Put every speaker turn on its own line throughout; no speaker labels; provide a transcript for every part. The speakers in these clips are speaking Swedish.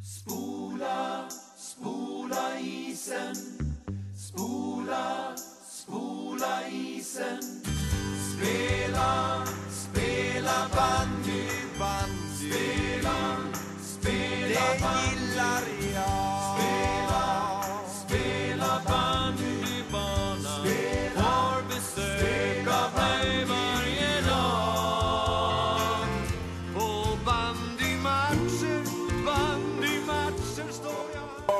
Spola, spola isen. Spola, spola isen. Spela, spela bandy. bandy. Spela, spela det bandy. Det gillar jag. Spela, spela bandybanan. Har besök av mig varje dag. På bandymatcher, bandymatcher står jag.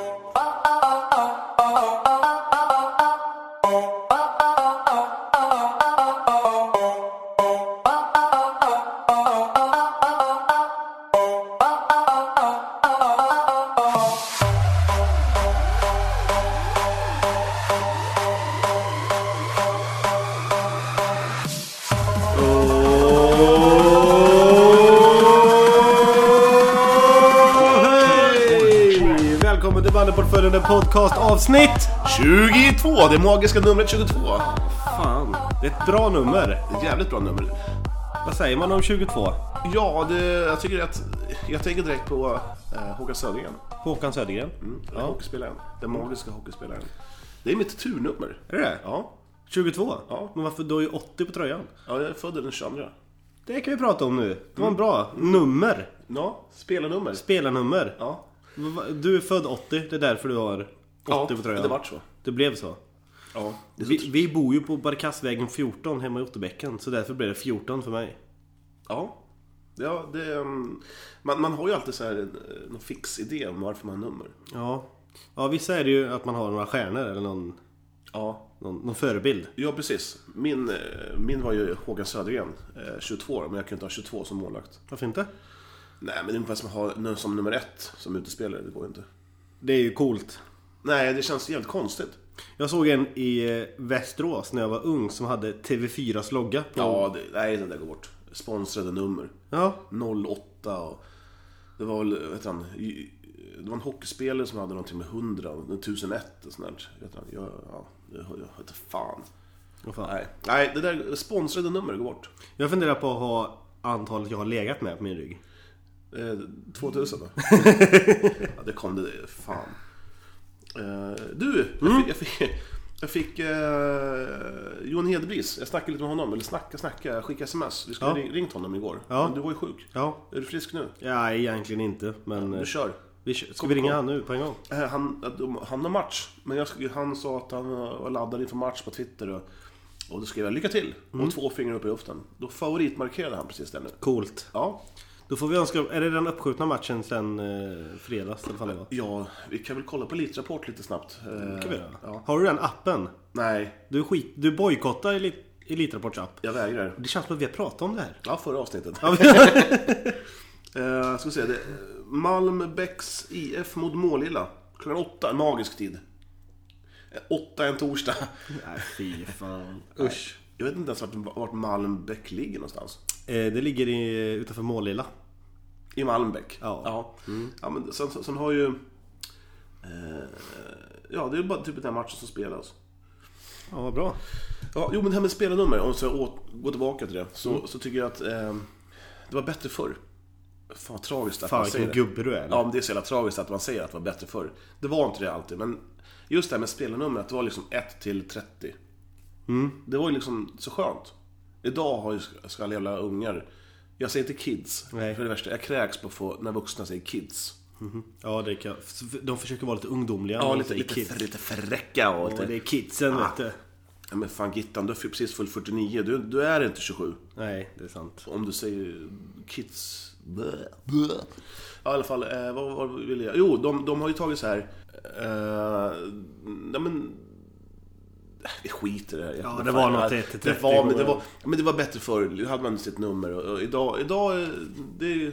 Hej! Välkommen till Bandyportföljen, en podcast avsnitt.
22! Det magiska numret 22.
Fan, det är ett bra nummer.
Ett jävligt bra nummer.
Vad säger man om 22?
Ja, det, jag tycker att... Jag tänker direkt på eh, Håkan Södergren.
Håkan Södergren. Mm.
Eller Hockeyspelaren. Den magiska hockeyspelaren. Det är mitt turnummer.
Är det det?
Ja.
22?
Ja.
Men varför då är ju 80 på tröjan?
ja, jag är född den 22.
Det kan vi prata om nu. Det var en bra nummer.
Mm. Ja, spelarnummer.
Spelarnummer.
Ja.
Va- Du är född 80, det är därför du har 80
Ja,
på tröjan.
det vart så.
Det blev så.
Ja, det är så
Vi, vi bor ju på Barkasvägen 14 hemma i Otterbäcken, så därför blev det 14 för mig.
Ja. Ja, det, ehm, man, man har ju alltid så här en, eh, någon fix idé om varför man har nummer.
Ja. Ja, vissa är det ju att man har några stjärnor eller någon,
Ja.
någon, någon förebild.
Ja, precis. Min, eh, min var ju Håkan Södergren, eh, 22 men jag kunde inte ha 22 som målvakt.
Varför inte?
Nej, men det är ungefär som att ha nu som nummer ett som utespelare. Det går ju inte.
Det är ju coolt.
Nej, det känns jävligt konstigt.
Jag såg en i eh, Västerås när jag var ung som hade TV4s logga på.
Ja, det, nej, det där går bort. Sponsrade nummer.
Ja.
08 och... Det var väl, vet han, i- det var en hockeyspelare som hade någonting med 100, och 1001 och sånt där. Vet han, jag, ja, jag, jag vet inte fan.
Vad fan.
Nej. nej, det där sponsrade nummer går bort.
Jag funderar på att ha antalet jag har legat med på min rygg.
Eh, 2000 då? ja, det kom det. Fan. Eh, du,
Mm.
jag fick... Jag fick jag fick eh, Johan Hedbris, jag snackade lite med honom, eller snacka, snacka, skicka sms. Vi skulle
Ja.
ha ring- ringt honom igår,
Ja.
men du var ju sjuk.
Ja.
Är du frisk nu?
Nej, egentligen inte. Men eh,
Du kör.
vi, kö- ska vi ringa han nu på en gång?
Eh, Han, att de- han har match, men jag, sk- han sa att han eh, var laddad inför match på Twitter. Och, och då skrev jag lycka till
Mm.
och två fingrar upp i luften. Då favoritmarkerade han precis det nu.
Coolt.
Ja,
Då får vi önska... Är det den uppskjutna matchen sen eh, fredags? Eller vad det var?
ja, vi kan väl kolla på Elitrapport lite snabbt. Eh,
Kan vi göra.
Ja.
Har du den appen?
Nej,
Du, skit, du bojkottar Elit, Elitrapports app.
Jag vägrar.
Det känns som att vi har pratat om det här.
Ja, förra avsnittet.
Ja,
Eh, ska vi se. Det är Malmbäcks IF mot Målilla. Klockan åtta, en magisk tid. Eh, Åtta en torsdag.
Nej, fy fan.
Usch. Jag vet inte ens vart, vart Malmbäck ligger någonstans.
Eh, det ligger i, utanför Målilla.
I Malmbäck?
Ja.
ja. Mm. ja men sen, sen, sen har ju... Eh, ja, det är bara typ den här matchen som spelas.
Ja, vad bra.
Ja, jo, men det här med spelarnummer, om jag åt, går tillbaka till det, så,
Mm.
så tycker jag att eh, det var bättre förr. Fan vad tragiskt att
Fan
man säger
vilken
det.
gubbe du är.
Ja, men det är så jävla tragiskt att man säger att det var bättre förr. Det var inte det alltid, men just det här med spelarnumret, det var liksom 1 till 30. Det var ju liksom så skönt. Idag har ju ska alla jävla ungar, jag säger inte kids,
Nej.
för det värsta, jag kräks på att få, när vuxna säger kids.
Mhm. Ja, det kan, de försöker vara lite ungdomliga.
Ja,
men
lite,
det är
lite, typ. Ah.
kids.
fr- lite fräcka och
Ja, det
lite...
är kidsen vet du.
Ja, men fan Gittan, du är precis full 49, du, du är inte 27.
Nej, det är sant.
Om du säger kids... Blö, blö. Ja, i alla fall, eh, vad, vad ville jag? Jo, de, de har ju tagit så här... Eh, nej men... eh, Vi skiter i det här.
Ja, det var något till- till
det
30
var, men, det
gånger.
var, men det var bättre förr. Då hade man sitt nummer. Och, och idag, idag eh, det är,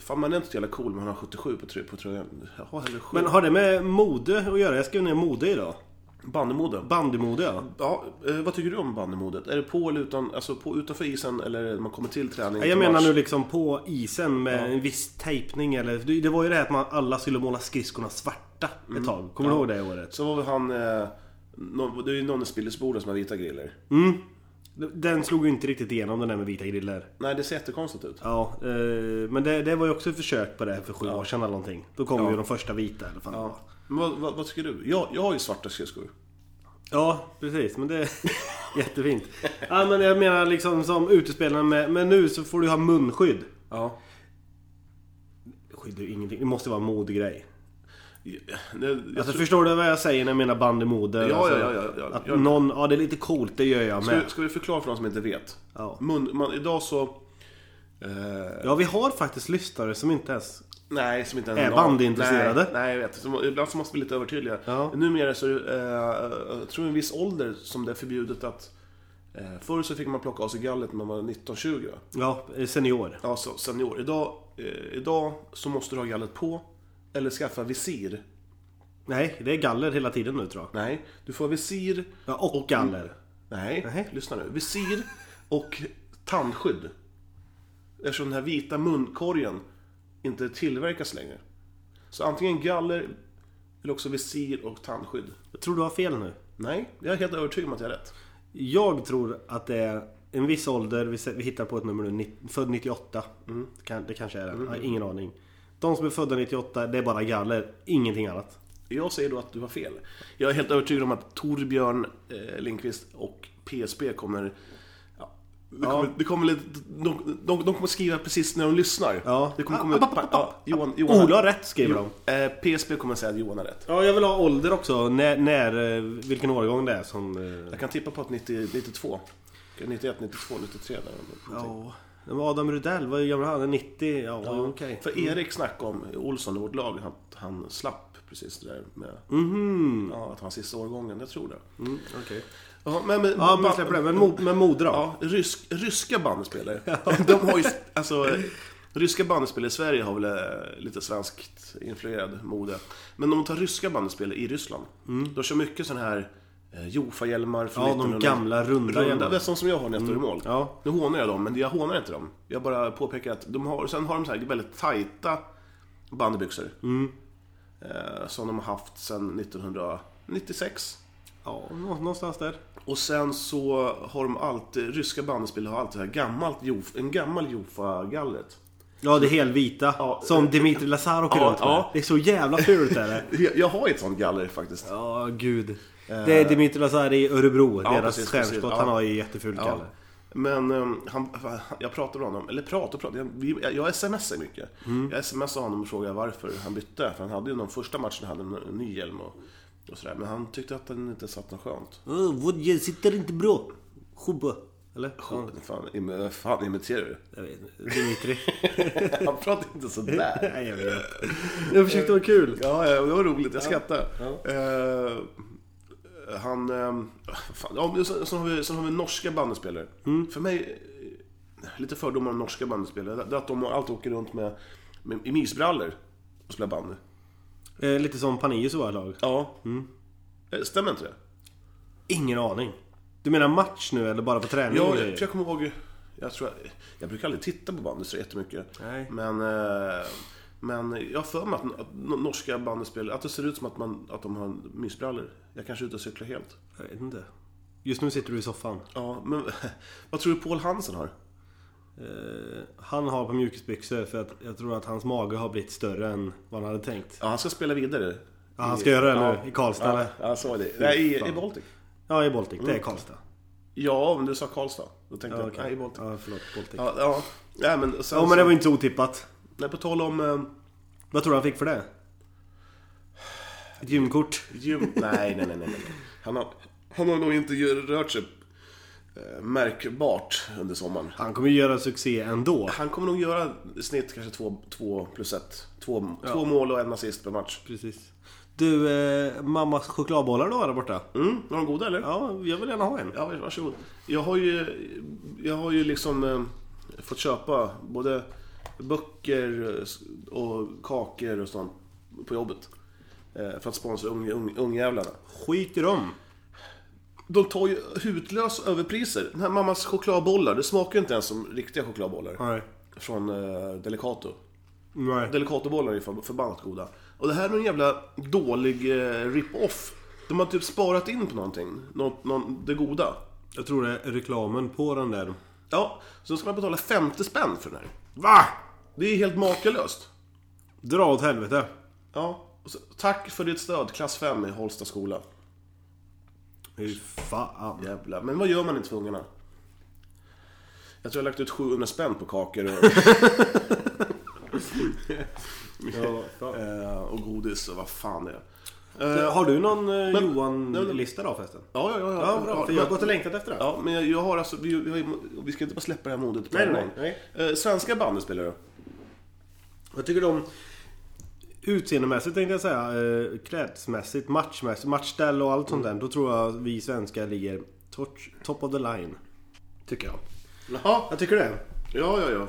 Fan, man är inte så jävla cool, men han har 77 på, trö- på tröjan. Jag har hellre 7.
Men har det med mode att göra? Jag skrev ner mode idag.
Bandemode.
Bandymode ja.
Ja, eh, vad tycker du om bandemodet? Är det på eller utan, alltså på, utanför isen eller är det- man kommer till träning?
Nej, Jag
till
menar
match?
nu liksom på isen med en viss tejpning eller... Det det var ju det här att man alla skulle måla skridskorna svarta
Mm.
ett tag. Kommer du ihåg det året?
Så var väl han... Eh, nå- det är ju någon i Spillersboda som har vita griller.
Den slog ju inte riktigt igenom den där med vita griller.
Nej, det ser jättekonstigt ut.
Ja, eh, men det, det var ju också ett försök på det här för sju år sedan eller någonting. Då kom
Ja.
ju de första vita eller vad fan det var.
Men vad, vad, vad tycker du? Jag, jag har ju svarta skridskor.
Ja, precis. Men det är jättefint. Ja, men jag menar liksom som utespelarna med, men nu så får du ha munskydd.
Ja.
Skydd är ju ingenting, det måste vara en modegrej.
Det, jag
Alltså
tror,
förstår du vad jag säger när jag menar bandymode?
Ja,
alltså,
ja, ja, ja, ja.
Att
Jag-
någon, ja det är lite coolt, det gör jag med.
ska, ska vi förklara för de som inte vet?
Ja.
Mun, man, idag så... Eh,
ja, vi har faktiskt lyssnare som inte ens...
nej, som inte ens
Är
en aning.
bandyintresserade?
Nej, nej, jag vet. Så, ibland så måste vi lite övertydliga.
Ja.
Numera så är det, eh, jag tror en viss ålder som det är förbjudet att... Eh, förr så fick man plocka av sig gallret när man var 19-20.
Ja, senior.
Ja, så Alltså, senior. Idag, eh, idag så måste du ha gallret på. Eller skaffa visir.
Nej, det är galler hela tiden nu tror jag.
Nej, du får ha visir.
Ja, och galler.
Nej,
Nej.
lyssna nu. Visir och tandskydd. Eftersom den här vita munkorgen inte tillverkas längre. Så antingen galler eller också visir och tandskydd.
Jag tror du har fel nu.
Nej, jag är helt övertygad om att jag har rätt.
Jag tror att det är en viss ålder, vi sä- vi hittar på ett nummer nu, nitt- född 98. Kan- Det kanske är det, Jag har ingen aning. De som är födda 98, det är bara galler, ingenting annat.
Jag säger då att du har fel. Jag är helt övertygad om att Torbjörn eh, Lindqvist och PSP kommer... Ja, det kommer, det kommer lite, de, de, de kommer skriva precis när de lyssnar.
Ja. Ah,
Det kommer komma
App, app, app,
ut... Ja, Johan, Johan
Ola har rätt skriver de.
Eh, PSP kommer säga att Johan har rätt.
Ja, jag vill ha ålder också, när, när eh, vilken årgång det är som... eh,
Jag kan tippa på att 90, 92. 91, 92, 93 där.
Ja. Men Adam Rudell, vad gammal är han? 90? Ja, okej. Mm.
För Erik snackade om Olsson i vårt lag, han, han slapp precis det där med... Ja, att han sista årgången, jag tror det.
Mhm. Mm, okej.
Ja, men, men,
Ja, men
ba-
släpper det. Men, mo- men moder då?
Ja, rysk, ryska bandspelare. De har ju, alltså, eh, ryska bandspelare i Sverige har väl eh, lite svenskt influerad mode. Men om man tar ryska bandspelare i Ryssland, de kör mycket sådana här eh, Jofa-hjälmar från
Mm. Ja, de
1900
gamla runda hjälmarna.
Det är sånt som jag har när jag står i mål.
Ja.
Nu hånar jag dem, men jag hånar inte dem. Jag bara påpekar att de har, sen har de så här väldigt tajta bandbyxor.
Mm.
Eh, som de har haft sedan 1996.
Ja, nå- någonstans där.
Och sen så har de alltid, ryska bandspelare har alltid det här gammalt, Jof- en gammal Jofa-gallret.
Ja, det helvita.
Ja.
som Dimitri Lazar åker
Ja,
runt med.
ja.
Det är så jävla fult är det.
Jag, jag har ju ett sånt galler faktiskt.
Ja, gud. Det är Dimitri Lazar i Örebro. deras
precis, precis.
stjärnskott.
Ja.
Han har ju jätteful
Ja.
kalle.
Men ehm, han, jag pratar med honom, eller pratar och pratar, jag, vi- jag smsar mycket. Jag smsar honom och frågar varför han bytte, för han hade ju någon första matchen, han hade en ny hjälm och, och sådär. Men han tyckte att den inte satt något skönt.
Vodje Eh, sitter inte bra. Sjubbe. Eller? Ja,
Fan, im- fan imiterar du?
jag vet inte. Dimitri.
Han pratar inte sådär.
Nej, jag vet inte. Jag försökte vara kul.
Ja, ja, det var roligt. Jag skrattade. Eh, han... eh, fan, ja, men sen, sen, har vi, sen har vi norska bandespelare. För mig, eh, lite fördomar om norska bandespelare. Det är att de alltid åker runt med, med i mysbrallor och spelar bandy.
Eh, lite som Panejus i våra lag.
Ja. Eh, Stämmer inte det?
Ingen aning. Du menar match nu eller bara på träning? och
Jag,
grejer?
för jag kommer ihåg... Jag, tror jag, jag brukar aldrig titta på bandy så jättemycket.
Nej.
Men... eh, Men jag har för mig att, att norska bandespelare, att det ser ut som att, man, att de har mysbrallor. Jag kanske är ute och cyklar helt.
Jag vet inte. Just nu sitter du i soffan.
Ja, men vad tror du Paul Hansen har?
Eh, han har på mjukisbyxor för att jag tror att hans mage har blivit större än vad han hade tänkt.
Ja, han ska spela vidare.
Ja, han ska göra det
Ja.
nu i Karlstad
Ja,
eller?
jag såg det. Nej, i, i Baltic.
Ja, i Baltic. Det är Karlstad.
Ja, men du sa Karlstad. Då tänkte
Ja,
jag,
okej.
nej, i Baltic. Ja,
Ja, förlåt. Baltic. Ja,
ja. ja. Nej, men sen
men det var
så,
inte så otippat.
nej, på tal om eh,
Vad tror du han fick för det? Ett gymkort?
gym... nej, nej, nej, nej. nej. Han har, han har nog inte rört sig eh, märkbart under sommaren.
Han kommer ju göra succé ändå.
Han kommer nog göra i snitt kanske två, två plus ett. Två, två mål och en assist per match.
Precis. Du, eh, mammas chokladbollar då där borta?
Mm, var de goda eller?
Ja, jag vill gärna ha en.
Ja, varsågod. Jag har ju, jag har ju liksom eh, fått köpa både böcker eh, och kakor och sånt på jobbet. Eh, för att sponsra ung, ung, ungjävlarna.
Skit i dem.
De tar ju hutlösa överpriser. Den här mammas chokladbollar, det smakar ju inte ens som riktiga chokladbollar.
Nej.
Från eh, Delicato.
Nej.
Delicatobollar är ju för- förbannat goda. Och det här är någon jävla dålig eh, rip-off. De har typ sparat in på någonting. Nå, nå, det goda.
Jag tror det är reklamen på den där.
Ja, så ska man betala 50 spänn för den här.
Va?
Det är helt makalöst.
Dra åt helvete.
Ja. och så- Tack för ditt stöd, klass 5 i Holsta skola.
Fy fan.
Jävlar. Men vad gör man inte för ungarna? Jag tror jag har lagt ut 700 spänn på kakor och, eh, och godis och vad fan det är.
Eh, Har du någon eh,
Men-
Johan-lista då förresten?
Ja, ja, ja.
Ja, bra. För jag har gått och längtat efter det.
Ja, men jag, jag har alltså, vi, vi, har, ju- vi ska inte bara släppa det här modet på
Nej,
en
nej,
gång.
nej.
Eh, svenska bandet spelar du?
Vad tycker du om utseendemässigt tänkte jag säga. eh, Klädsmässigt, matchmässigt, matchställ och allt sånt där. Då tror jag vi svenskar ligger torch, top of the line. Tycker jag.
Jaha,
Jag tycker det.
ja, ja, ja.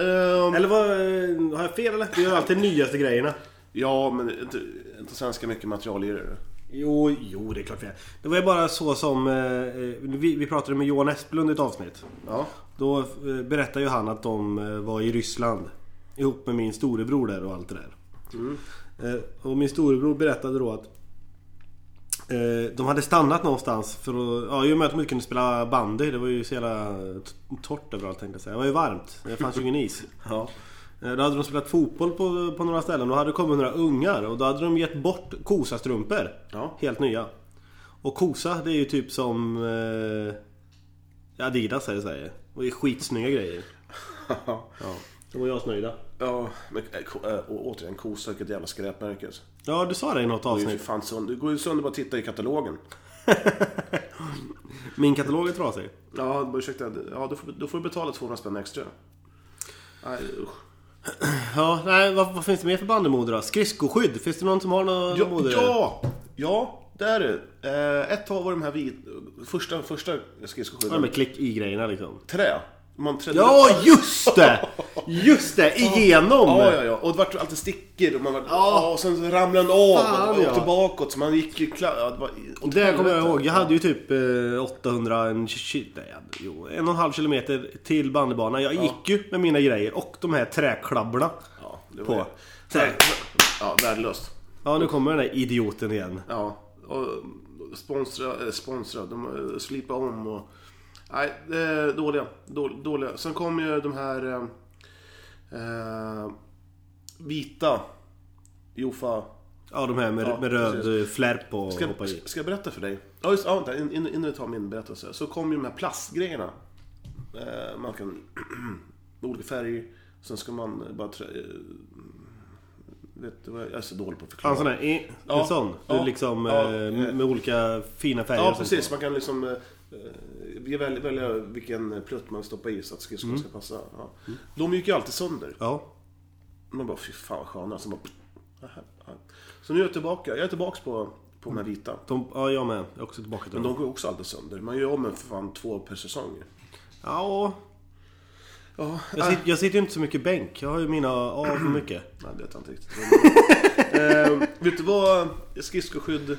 Ehm,
Eller vad, eh, har jag fel eller? Vi gör alltid nyaste grejerna.
ja, men inte, inte svenska mycket material i det. du.
Jo, jo det är klart vi är. Det var ju bara så som... eh, eh, Vi, vi pratade med Johan Esplund i ett avsnitt.
Ja.
Då eh, berättade ju han att de eh, var i Ryssland ihop med min storebror där och allt det där. Eh, Och min storebror berättade då att eh, de hade stannat någonstans för att... Ja, i och med att de inte kunde spela bandy. Det var ju så jävla t- torrt överallt tänkte jag säga. Det var ju varmt. Det fanns ju ingen is.
ja.
Eh, Då hade de spelat fotboll på, på några ställen och hade det kommit några ungar och då hade de gett bort kosastrumpor.
Ja.
Helt nya. Och kosa det är ju typ som eh, Adidas här i Sverige. Och det är skitsnygga grejer. Ja. De var ju asnöjda.
ja, men eh, ko- eh, och återigen, kossa, vilket jävla skräpmärke. alltså.
Ja, du sa det i något
Det, är ju
avsnitt.
fan sönder, det går ju sönder bara att titta i katalogen.
Min katalog är trasig.
Ja, bara ursäkta. Ja, då, får, då får du betala 200 spänn extra. Nej, usch.
Ja, nej, vad, vad finns det mer för bandymoder då? Skridskoskydd? Finns det någon som har någon någon
Ja,
moder?
ja, ja, där är det. Eh, Ett tag var de här vit, första, första
Ja,
skridskoskydden.
med klick i grejerna liksom.
Trä. Man trädde
Ja, just det! Just det! Igenom!
Ja, ja, ja. Och det vart alltid stickor och man var, ja. och sen så ramlade den av
Fan,
och åkte
ja.
bakåt så man gick ju kla- ja, det var, åt
Det kommer jag
helvete.
ihåg. Jag hade ju typ eh, 800, en, shit, nej, jag hade- jo, en och en halv kilometer till bandybanan. Jag gick ju med mina grejer och de här träklabborna.
Ja, det var
På.
Trä. Ja, värdelöst.
Ja, nu kommer den där idioten igen.
Ja, och sponsra, eh, sponsra, de eh, slipa om och... Nej, eh, dåliga, Då- dåliga. Sen kom ju de här eh, eh, vita Jofa.
Ja, de här med,
Ja,
med röd precis. flärp och
Ska,
hoppa i.
ska jag berätta för dig? Ja, just ja, vänta, in- in- innan du tar min berättelse. Så kom ju de här plastgrejerna. Eh, man kan... med olika färger. Sen ska man bara... Trä, eh, vet du vad jag, jag är så dålig på att förklara.
En sån där, eh,
Ja,
en sån.
ja,
liksom
ja,
eh, med med olika fina färger.
Ja,
och sånt.
precis. Man kan liksom eh, eh, välja, välja vilken plutt man stoppar i så att skridskon ska passa. Ja. De gick ju alltid sönder.
Ja.
Man bara, fy fan vad sköna. Så, bara, aha, aha. så nu är jag tillbaka. Jag är tillbaka på, på de här vita.
De, ja, jag med. Jag är också tillbaka till
Men
dem.
de går ju också alltid sönder. Man gör om en för fan två per säsong.
Ja,
Ja,
jag, sit, jag sitter ju inte så mycket bänk. Jag har ju mina av för mycket.
nej, det vet jag inte riktigt. Men, eh, vet du vad skridskoskydd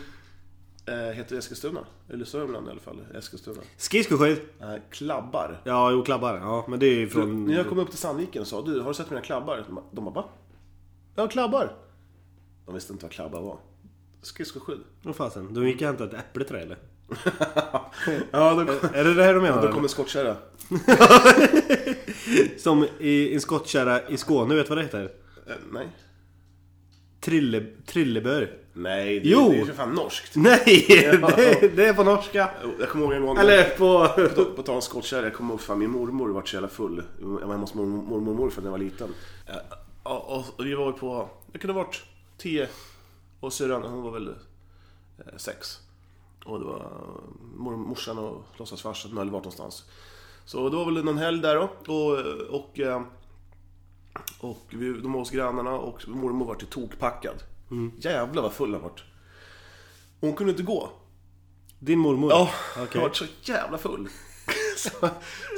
eh, heter i Eskilstuna? Eller Sörmland i alla fall. Eskilstuna.
Skridskoskydd?
Eh, klabbar.
Ja, jo, klabbar. Ja, men det är ju från...
När jag kom upp till Sandviken och sa du, har du sett mina klabbar? De bara, de bara va? Ja, klabbar. De visste inte vad klabbar var. Skridskoskydd.
Vad fasen, de gick och hämtade ett äpple till dig eller?
ja, då, kom,
Är det det här du menar?
då kom en skottkärra. Eh,
Som i en skottkärra i Skåne, vet du vad det heter?
Eh, nej.
Trille, trillebör.
Nej, det,
Jo!
det är ju för fan norskt.
Nej! Det, det är på norska.
Jag kommer ihåg en gång, Eller...
Eller på...
på, på tal om skottkärra, jag kommer ihåg fan min mormor var så jävla full. Jag var hemma hos mormor mormor och morfar när jag var liten. Eh, Och, och, och vi var på, jag kunde ha varit 10 och syrran, hon var väl eh, sex. Och det var eh, mor, morsan och låtsasfarsan, eller vart någonstans. Så det var väl någon helg där då. Och, och, eh, och vi, de var hos grannarna och mormor var till tokpackad. Mm. Jävlar vad full han vart. Hon kunde inte gå.
Din mormor?
Ja,
Okej.
jag var så jävla full. så,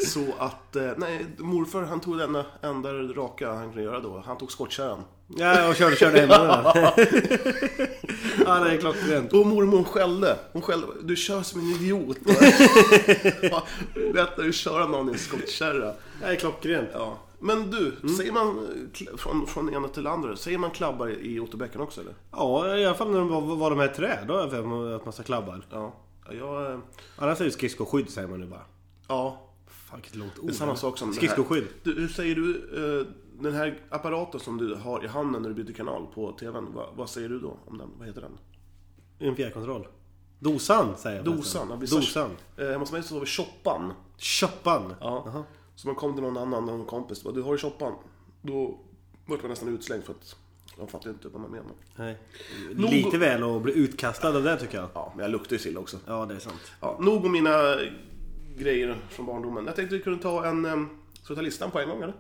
så att, eh, nej, morfar han tog den enda raka han kunde göra då. Han tog skottkärran.
Ja, och körde, körde hem med den. Ja, det är klockrent.
Och mormor hon skällde. Hon skällde. Du kör som en idiot. Ja, Lättare att köra någon i en skottkärra.
Det är klockrent. Mm.
Ja. Men du, säger man eh, kl- från, från ena till andra, säger man klabbar i Otterbäcken också eller?
Ja, i alla fall när de var, var de här trä. Då har jag för mig att massa klabbar.
Ja. Ja, Jag... eh,
Annars är det skridskoskydd säger man nu bara.
Ja.
Fan vilket långt ord.
Det är samma sak som... den här-
Skridskoskydd.
Du, hur säger du... eh, Den här apparaten som du har i handen när du byter kanal på TVn. Vad, vad säger du då om den? Vad heter den?
En fjärrkontroll. Dosan säger jag.
Dosan. ja,
förresten.
vissa-
Dosan.
Eh, Hemma hos mig så har vi shoppan.
Choppan.
Ja.
Jaha.
Så man kom till någon annan, någon kompis och bara, du har ju shoppan. Då vart man nästan utslängd för att de fattade inte vad man menade.
Nej.
Nog-
Lite väl att bli utkastad av det tycker jag.
Ja, men jag luktar ju sill också.
Ja, det är sant.
Ja, nog om mina grejer från barndomen. Jag tänkte vi kunde ta en... em, Ska vi ta listan på en gång eller?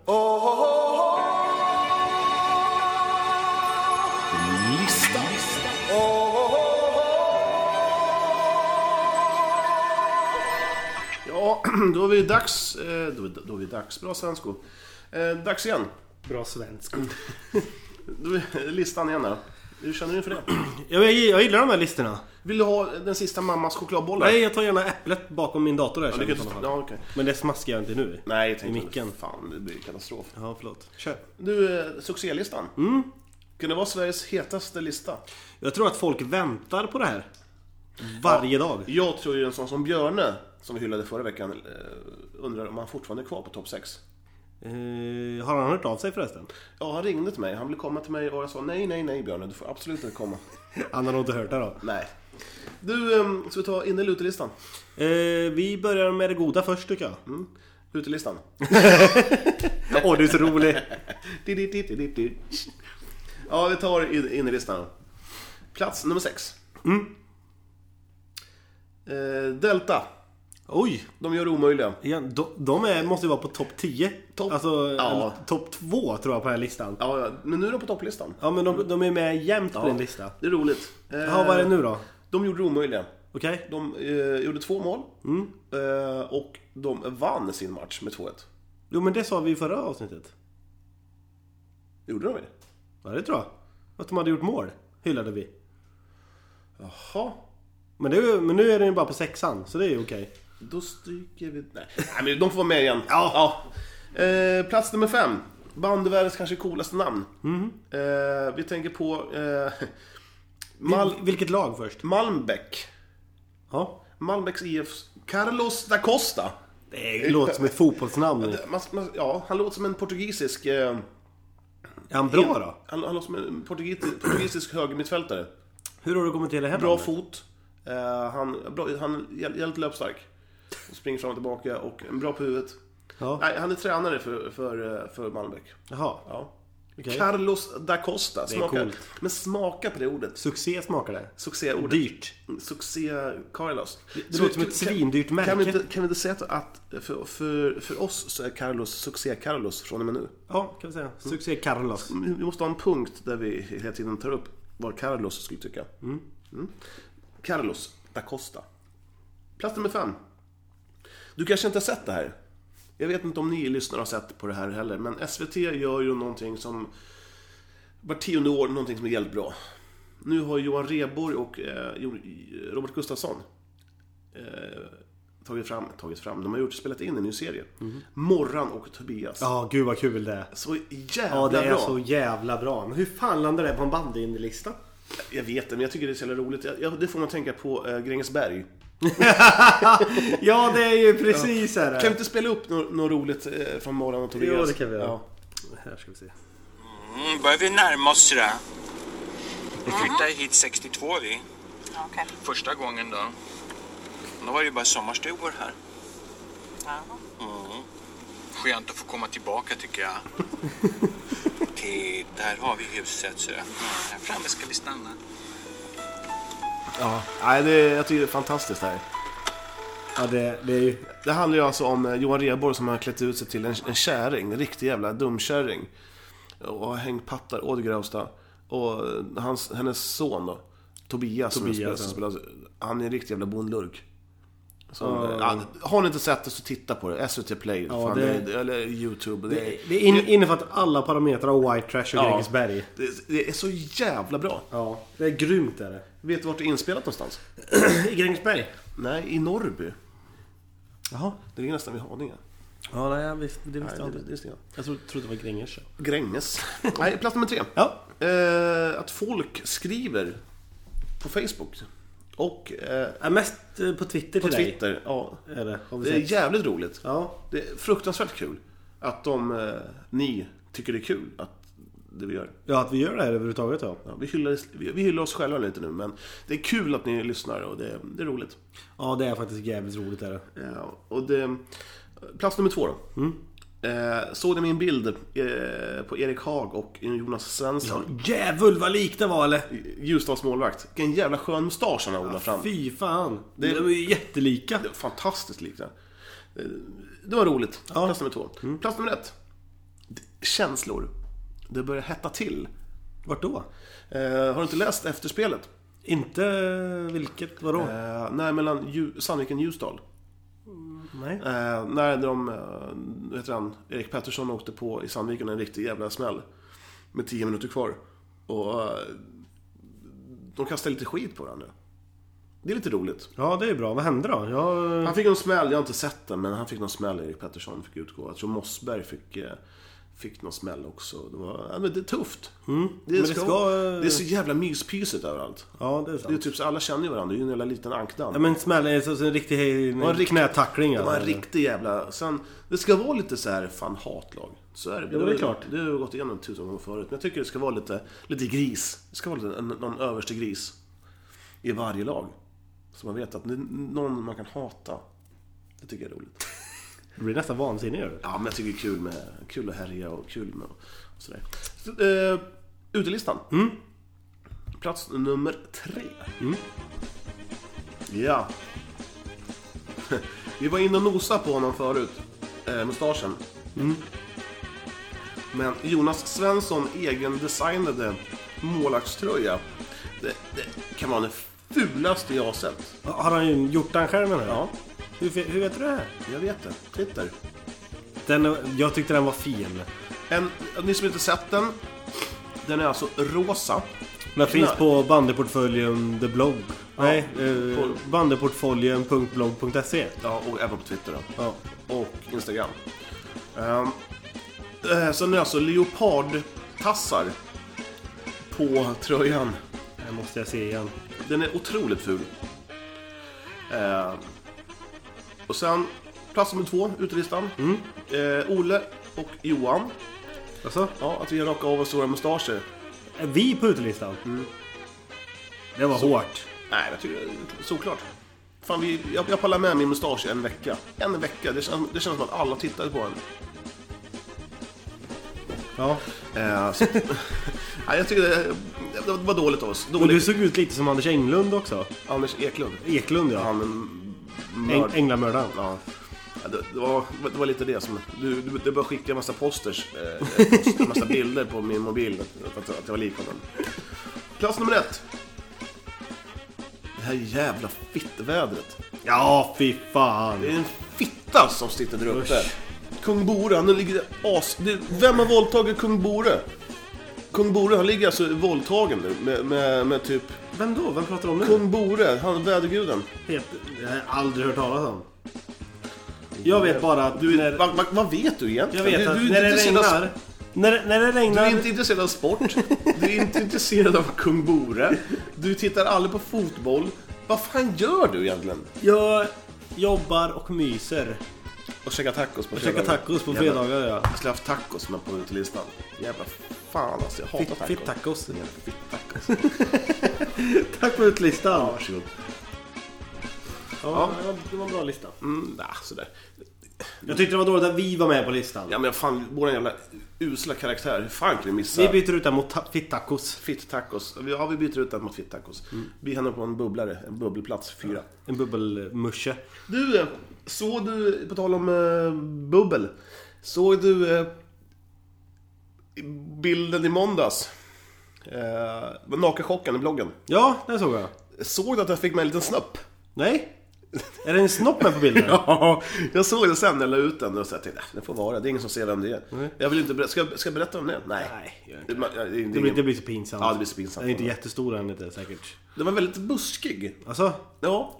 Ja, då är vi dags... eh, Då är, då är vi dags. Bra svensko. Eh, Dags igen.
Bra svensk.
Då är listan igen här. Hur känner du inför det?
Jag, jag, jag gillar de här listorna.
Vill du ha den sista mammas chokladbollar?
Nej, jag tar gärna äpplet bakom min dator där.
Ja,
känner
du
jag
kan
i alla
inte...
fall.
ja, okej.
Men det smaskar jag inte nu.
Nej, jag tänkte...
I micken.
Fan, det blir katastrof.
Ja, förlåt. Kör.
Du, eh, succélistan. Mm. Kan det vara Sveriges hetaste lista?
Jag tror att folk väntar på det här. Varje dag.
Jag tror ju en sån som Björne, som vi hyllade förra veckan, eh, undrar om han fortfarande är kvar på topp 6.
Eh, har han hört av sig förresten?
Ja, han ringde till mig. Han ville komma till mig och jag sa nej, nej, nej Björne, du får absolut inte komma.
Han har nog inte hört det då.
nej. Du, eh, ska vi ta in eller utelistan?
Eh, vi börjar med det goda först tycker jag. Mm. Åh,
Utelistan.
du är så rolig!
Di-di-di-di-di-di. ja, vi tar in- innerlistan då. Plats nummer 6. Eh, Delta.
Oj!
De gör det omöjliga.
Igen, de, de är, måste ju vara på topp 10.
Topp-
alltså,
ja.
ja. topp 2 tror jag på den här listan.
Ja, ja, men nu är de på topplistan.
Ja, men de, de är med jämt på din lista.
Det är roligt. Eh,
Ja, vad är det nu då?
De gjorde det omöjliga.
Okej?
De eh, gjorde två mål
Mm.
eh, och de vann sin match med 2-1.
Jo, men det sa vi i förra avsnittet.
Gjorde de det?
Ja, det tror jag. Att de hade gjort mål, hyllade vi.
Jaha,
Men, det, är ju- men nu är den ju bara på sexan, så det är ju okej.
då stryker vi... Nej, Nej men de får vara med igen. Ja. Eh, plats nummer fem. Bandvärldens kanske coolaste namn. Eh, vi tänker på eh, Mal-
Vil, vilket lag först?
Malmbäck.
Ja.
Malmbäcks IFs Carlos da Costa.
Det låter som ett fotbollsnamn.
Man, man, ja, han låter som en portugisisk... Eh,
Är han bra då?
Han, han låter som en portugis, portugisisk högermittfältare.
Hur har du kommit till det här
Bra
namnet?
fot. Eh, han, bra, han är jä- jävligt löpstark. Springer fram och tillbaka och bra på huvudet.
Ja.
Nej, han är tränare för, för, eh, för Malmbäck.
Jaha.
Ja.
Okej.
Carlos da Costa.
är
Smaka.
coolt.
Men smaka på det ordet.
Succé smakar det.
Succéordet.
Dyrt.
Succé Carlos.
Det låter som ett svindyrt
kan, kan, vi inte,
märke.
kan vi inte säga att för, för, för oss så är Carlos Succé Carlos från och med nu?
Ja, kan vi säga. Succé Carlos.
Vi måste ha en punkt där vi hela tiden tar upp vad Carlos skulle tycka. Mm. Carlos da Costa. Plats nummer fem. Du kanske inte har sett det här? Jag vet inte om ni lyssnare har sett på det här heller, men SVT gör ju någonting som var tionde år, någonting som är jävligt bra. Nu har Johan Rheborg och eh, Jo- Robert Gustafsson eh, tagit, fram, tagit fram, de har gjort, spelat in en ny serie. Morran och Tobias.
Mhm. Ja, gud vad kul det är.
Så jävla
Ja, det är
bra!
så jävla bra. Men hur fan landar det på en bandyinlista?
Jag vet det, men jag tycker det är så jävla roligt. Jag- Jag, det får man tänka på eh, Grängesberg.
Ja, det är ju precis här.
Kan vi inte spela upp något no roligt eh, från Morran och Tobias?
Jo, det kan vi göra. Här ska vi se.
Mm, börjar vi närma oss det där. Vi flyttade hit 62 vi.
Okej.
Första gången då. Då var det ju bara sommarstugor här.
Ja.
Skönt att få komma tillbaka tycker jag. Till, där har vi huset. Så. Mm, här framme ska vi stanna.
Ja. Nej, det, jag tycker det är fantastiskt det här.
Ja, det, det är ju...
Det handlar ju alltså om eh, Johan Rheborg som har klätt ut sig till en, en käring, en riktig jävla dumkärring. Och har hängt pattar åt Grövsta. Och eh, hans, hennes son då, Tobias, som
Tobias,
spelar,
ja.
som spelar, han är en riktig jävla bondlurk. Så, ja, har ni inte sett det så titta på det. SVT Play, fan,
det-
det, eller YouTube. Det,
Det, det in, innefattar alla parametrar av White Trash och
Ja.
Grängesberg.
det, det är så jävla bra.
Ja, det är grymt är det.
Vet du vart det är inspelat någonstans?
I Grängesberg?
Nej, i Norrby.
Jaha.
Det ligger nästan vid Haninge.
Ja, nej, visst, det visste
Nej, det, det är Sten.
Jag trodde, trodde det var Gränges.
Gränges. Nej, plats nummer tre.
Ja.
Eh, att folk skriver på Facebook. Och eh,
Ja, mest eh, på Twitter
på
till dig.
Twitter. Ja,
Är det, har vi
det är
sett.
jävligt roligt.
Ja.
Det är fruktansvärt kul att de, eh, ni tycker det är kul att det vi gör.
ja, att vi gör det här överhuvudtaget ja.
Ja, vi, hyllar, vi, vi hyllar oss själva lite nu, men det är kul att ni lyssnar och det, det är roligt.
Ja, det är faktiskt jävligt roligt är det.
Ja, Eh, och det, plats nummer två då. Eh, såg ni min bild eh, på Erik Haag och Jonas Svensson?
Djävul vad likt det var eller?
Ljusdals målvakt. Vilken jävla skön mustasch han har odlat fram.
Fy fan.
Det-
De är ju jättelika.
Det var fantastiskt likt det. Eh, Det var roligt. Plats nummer två. Plats nummer ett. D- Känslor. Det börjar hetta till.
Vart då?
Eh, har du inte läst efterspelet?
Inte vilket, vadå?
Eh, nej, mellan Ju- Sandviken och Ljusdal.
Nej.
Eh, när de, eh, vad heter han, Erik Pettersson åkte på i Sandviken en riktig jävla smäll. Med 10 minuter kvar. Och eh, de kastade lite skit på varandra. Det är lite roligt.
Ja, det är bra. Vad hände då? Jag...
Han fick en smäll, jag har inte sett den, men han fick någon smäll, Erik Pettersson fick utgå. Jag tror Mossberg fick, eh, fick någon smäll också. Det, var, ja, men det är tufft. Mm. Det,
men det
ska,
ska, eh,
det är så jävla myspysigt överallt.
Ja, det är sant.
Det är typ så alla känner ju varandra, det är ju en jävla liten ankdamm.
Ja, men smäll är så, så en riktig hej-
var en rikt-
knätackling
Det
alltså.
var en riktig jävla... Sen, det ska vara lite så här fan hatlag. Så är det.
Ja, det är klart.
Det har vi gått igenom tusen gånger förut. Men jag tycker det ska vara lite, lite gris. Det ska vara lite, en, någon överste gris. I varje lag. Så man vet att det är någon man kan hata. Det tycker jag är roligt.
Du blir nästan vansinnig gör du.
Ja, men jag tycker det är kul, med, kul att härja och kul med och sådär. Så, eh, utelistan.
Mm.
Plats nummer tre. Ja. Vi var inne och nosade på honom förut. Eh, mustaschen. Men Jonas Svensson egen designade målvaktströja. Det, det kan vara den fulaste jag har sett.
Har han ju gjort den själv menar du?
Ja,
Hur, fe- hur vet du det här?
jag vet det. Twitter.
Den, är- jag tyckte den var fin.
En, ni som inte sett den, den är alltså rosa.
Den finns
Nej.
på bandyportföljen The Blog. Nej, eh,
på-
bandyportföljen.blog.se.
Ja, och även på Twitter då.
Ja.
och Instagram. Um, eh, sen är det alltså leopardtassar på tröjan.
Det måste jag se igen.
Den är otroligt ful. Eh, och sen plats nummer två, utelistan. Eh, Ole och Johan.
Alltså?
Ja, att vi har rakat av oss våra mustascher.
Är vi på utelistan? Det var hårt.
Nej, jag tycker såklart. Fan, vi, jag, jag pallar med min mustasch i en vecka. En vecka, det känns, det känns som att alla tittade på en.
Ja.
Eh, så, nej, jag tycker det, det var dåligt av oss.
Och
Dåligt.
du såg ut lite som Anders Englund också.
Anders Eklund.
Eklund ja.
Han
Äng,
mörd.
Änglamördaren.
Ja. Ja, Det, det, var, det var lite det som... Du, du, du började skicka en massa posters. Eh, post- en massa bilder på min mobil. Att, att, att jag var lik honom. Plats nummer ett. Det här jävla fittvädret.
Ja, fy fan.
Det är en fitta som sitter där uppe.
Usch.
Kung Bore, han ligger as... det- Vem har våldtagit Kung Bore? Kung Bore, han ligger alltså våldtagen nu med, med, med typ...
Vem då? Vem pratar du om nu?
Kung Bore, han väderguden.
Helt, jag har aldrig hört talas om. Jag vet bara att du när,
Vad, vad, vad vet du
jag
egentligen?
vet
du,
att
du, är
när
inte
det
intresserad av-
regnar... När, när det
Du
regnar...
är inte intresserad av sport, du är inte intresserad av Kung Bore, du tittar aldrig på fotboll. Vad fan gör du egentligen?
Jag jobbar och myser.
Och käkar tacos på
Käkar tacos på fredagar ja.
Jag skulle haft tacos med på utelistan. Jävla fan alltså, jag hatar
Fitt,
tacos.
fitt tacos.
Jävla Fitt tacos.
Tack för utlistan.
Varsågod.
Ja, det var en bra lista.
Mm, nah, sådär.
Jag tyckte det var dåligt att vi var med på listan.
Ja men fan, vår jävla usla karaktär, hur fan kan vi missa?
Vi byter ut den mot ta- fitt tacos.
Fitt tacos. Ja, vi byter ut den mot fitt tacos.
Mm.
Vi hamnar på en bubblare, en bubbelplats fyra.
En bubbelmusche.
Du, eh, såg du, på tal om eh, bubbel. Såg du eh, bilden i måndags? Eh, Nakenchocken i bloggen.
Ja, den såg jag.
Såg du att jag fick med en liten snopp?
Nej? Är det en snopp med på bilden?
Ja, jag såg den sen när jag la ut den och så jag tänkte jag, det får vara, det är ingen som ser vem det är. Jag vill inte berätta, ska, jag- ska jag berätta om det? Nej.
Nej, gör
det, man- ja, det, det,
Det blir, det blir så pinsamt.
Ja, det blir så pinsamt.
Den är inte jättestor än inte säkert.
Den var väldigt buskig.
Alltså,
Ja.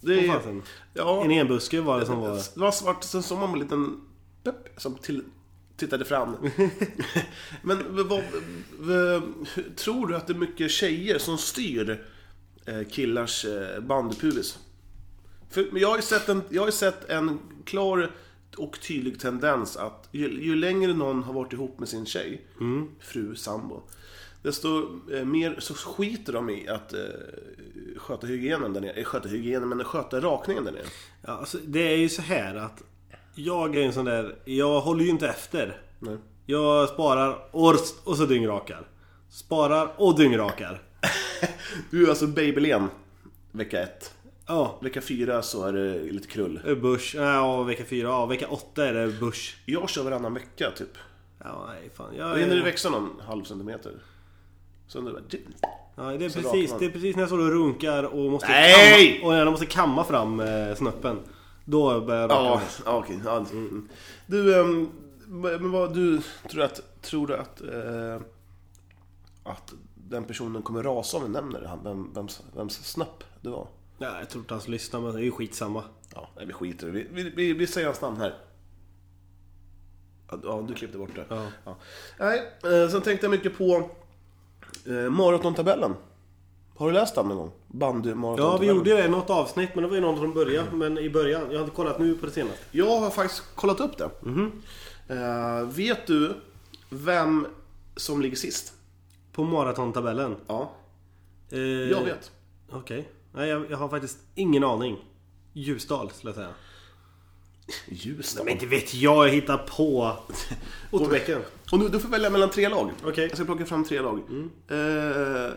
Det
Vad fasen?
Ja.
en enbuske var det som var...
Det var svart, sen såg man en liten pepp som till, tittade fram. Men vad, vad, tror du att det är mycket tjejer som styr eh, killars eh, bandpuvis. För, men jag, har ju sett en, jag har ju sett en klar och tydlig tendens att ju, ju längre någon har varit ihop med sin tjej,
Mm.
fru, sambo, desto eh, mer så skiter de i att eh, sköta hygienen där nere. Eh, Sköta hygienen, men sköta rakningen där nere.
Ja, alltså, det är ju så här att jag är en sån där, jag håller ju inte efter.
Nej.
Jag sparar och, och så dyngrakar. Sparar och dyngrakar.
Du är alltså Babylén, vecka ett.
Ja,
Vecka fyra så är det lite krull.
börs. Ja, vecka fyra. Ja, vecka åtta är det börs.
Jag kör varannan vecka typ.
Ja, nej fan.
Då
Jag,
hinner det växa någon halv centimeter. Sen är det bara...
Ja, det är
Så
precis.
rakar man.
Det är precis när jag står och runkar och måste
Nej!
kamma, och när jag måste kamma fram eh, snoppen. Då börjar jag raka
Ja,
mig.
ja okej. Ja. Mm. Du, ehm, men vad du tror att, tror du att, eh, att den personen kommer rasa om vi nämner det? Han- Vem, vems, vems snapp det var?
Nej, jag tror inte han lyssnar men det är ju skitsamma.
Ja, nej, vi skiter i det. vi, vi, vi, vi säger hans namn här. Ja, Ja, du klippte bort det.
Ja.
Nej, eh, sen tänkte jag mycket på eh, maratontabellen. Har du läst den någon gång? Bandymaratontabellen.
Ja, vi gjorde ju det i något avsnitt men det var ju någon från början. Men i början. Jag har inte kollat nu på det senaste.
Jag har faktiskt kollat upp det.
Mhm.
Eh, vet du vem som ligger sist?
På maratontabellen.
Ja,
Eh,
jag vet.
Okej. Nej, jag, jag har faktiskt ingen aning. Ljusdal skulle jag säga.
Ljusdal.
Men inte vet jag, jag hittar på. Otterbäcken.
Och nu, du får välja mellan tre lag.
Okej. Mm.
Jag ska plocka fram tre lag. Eh,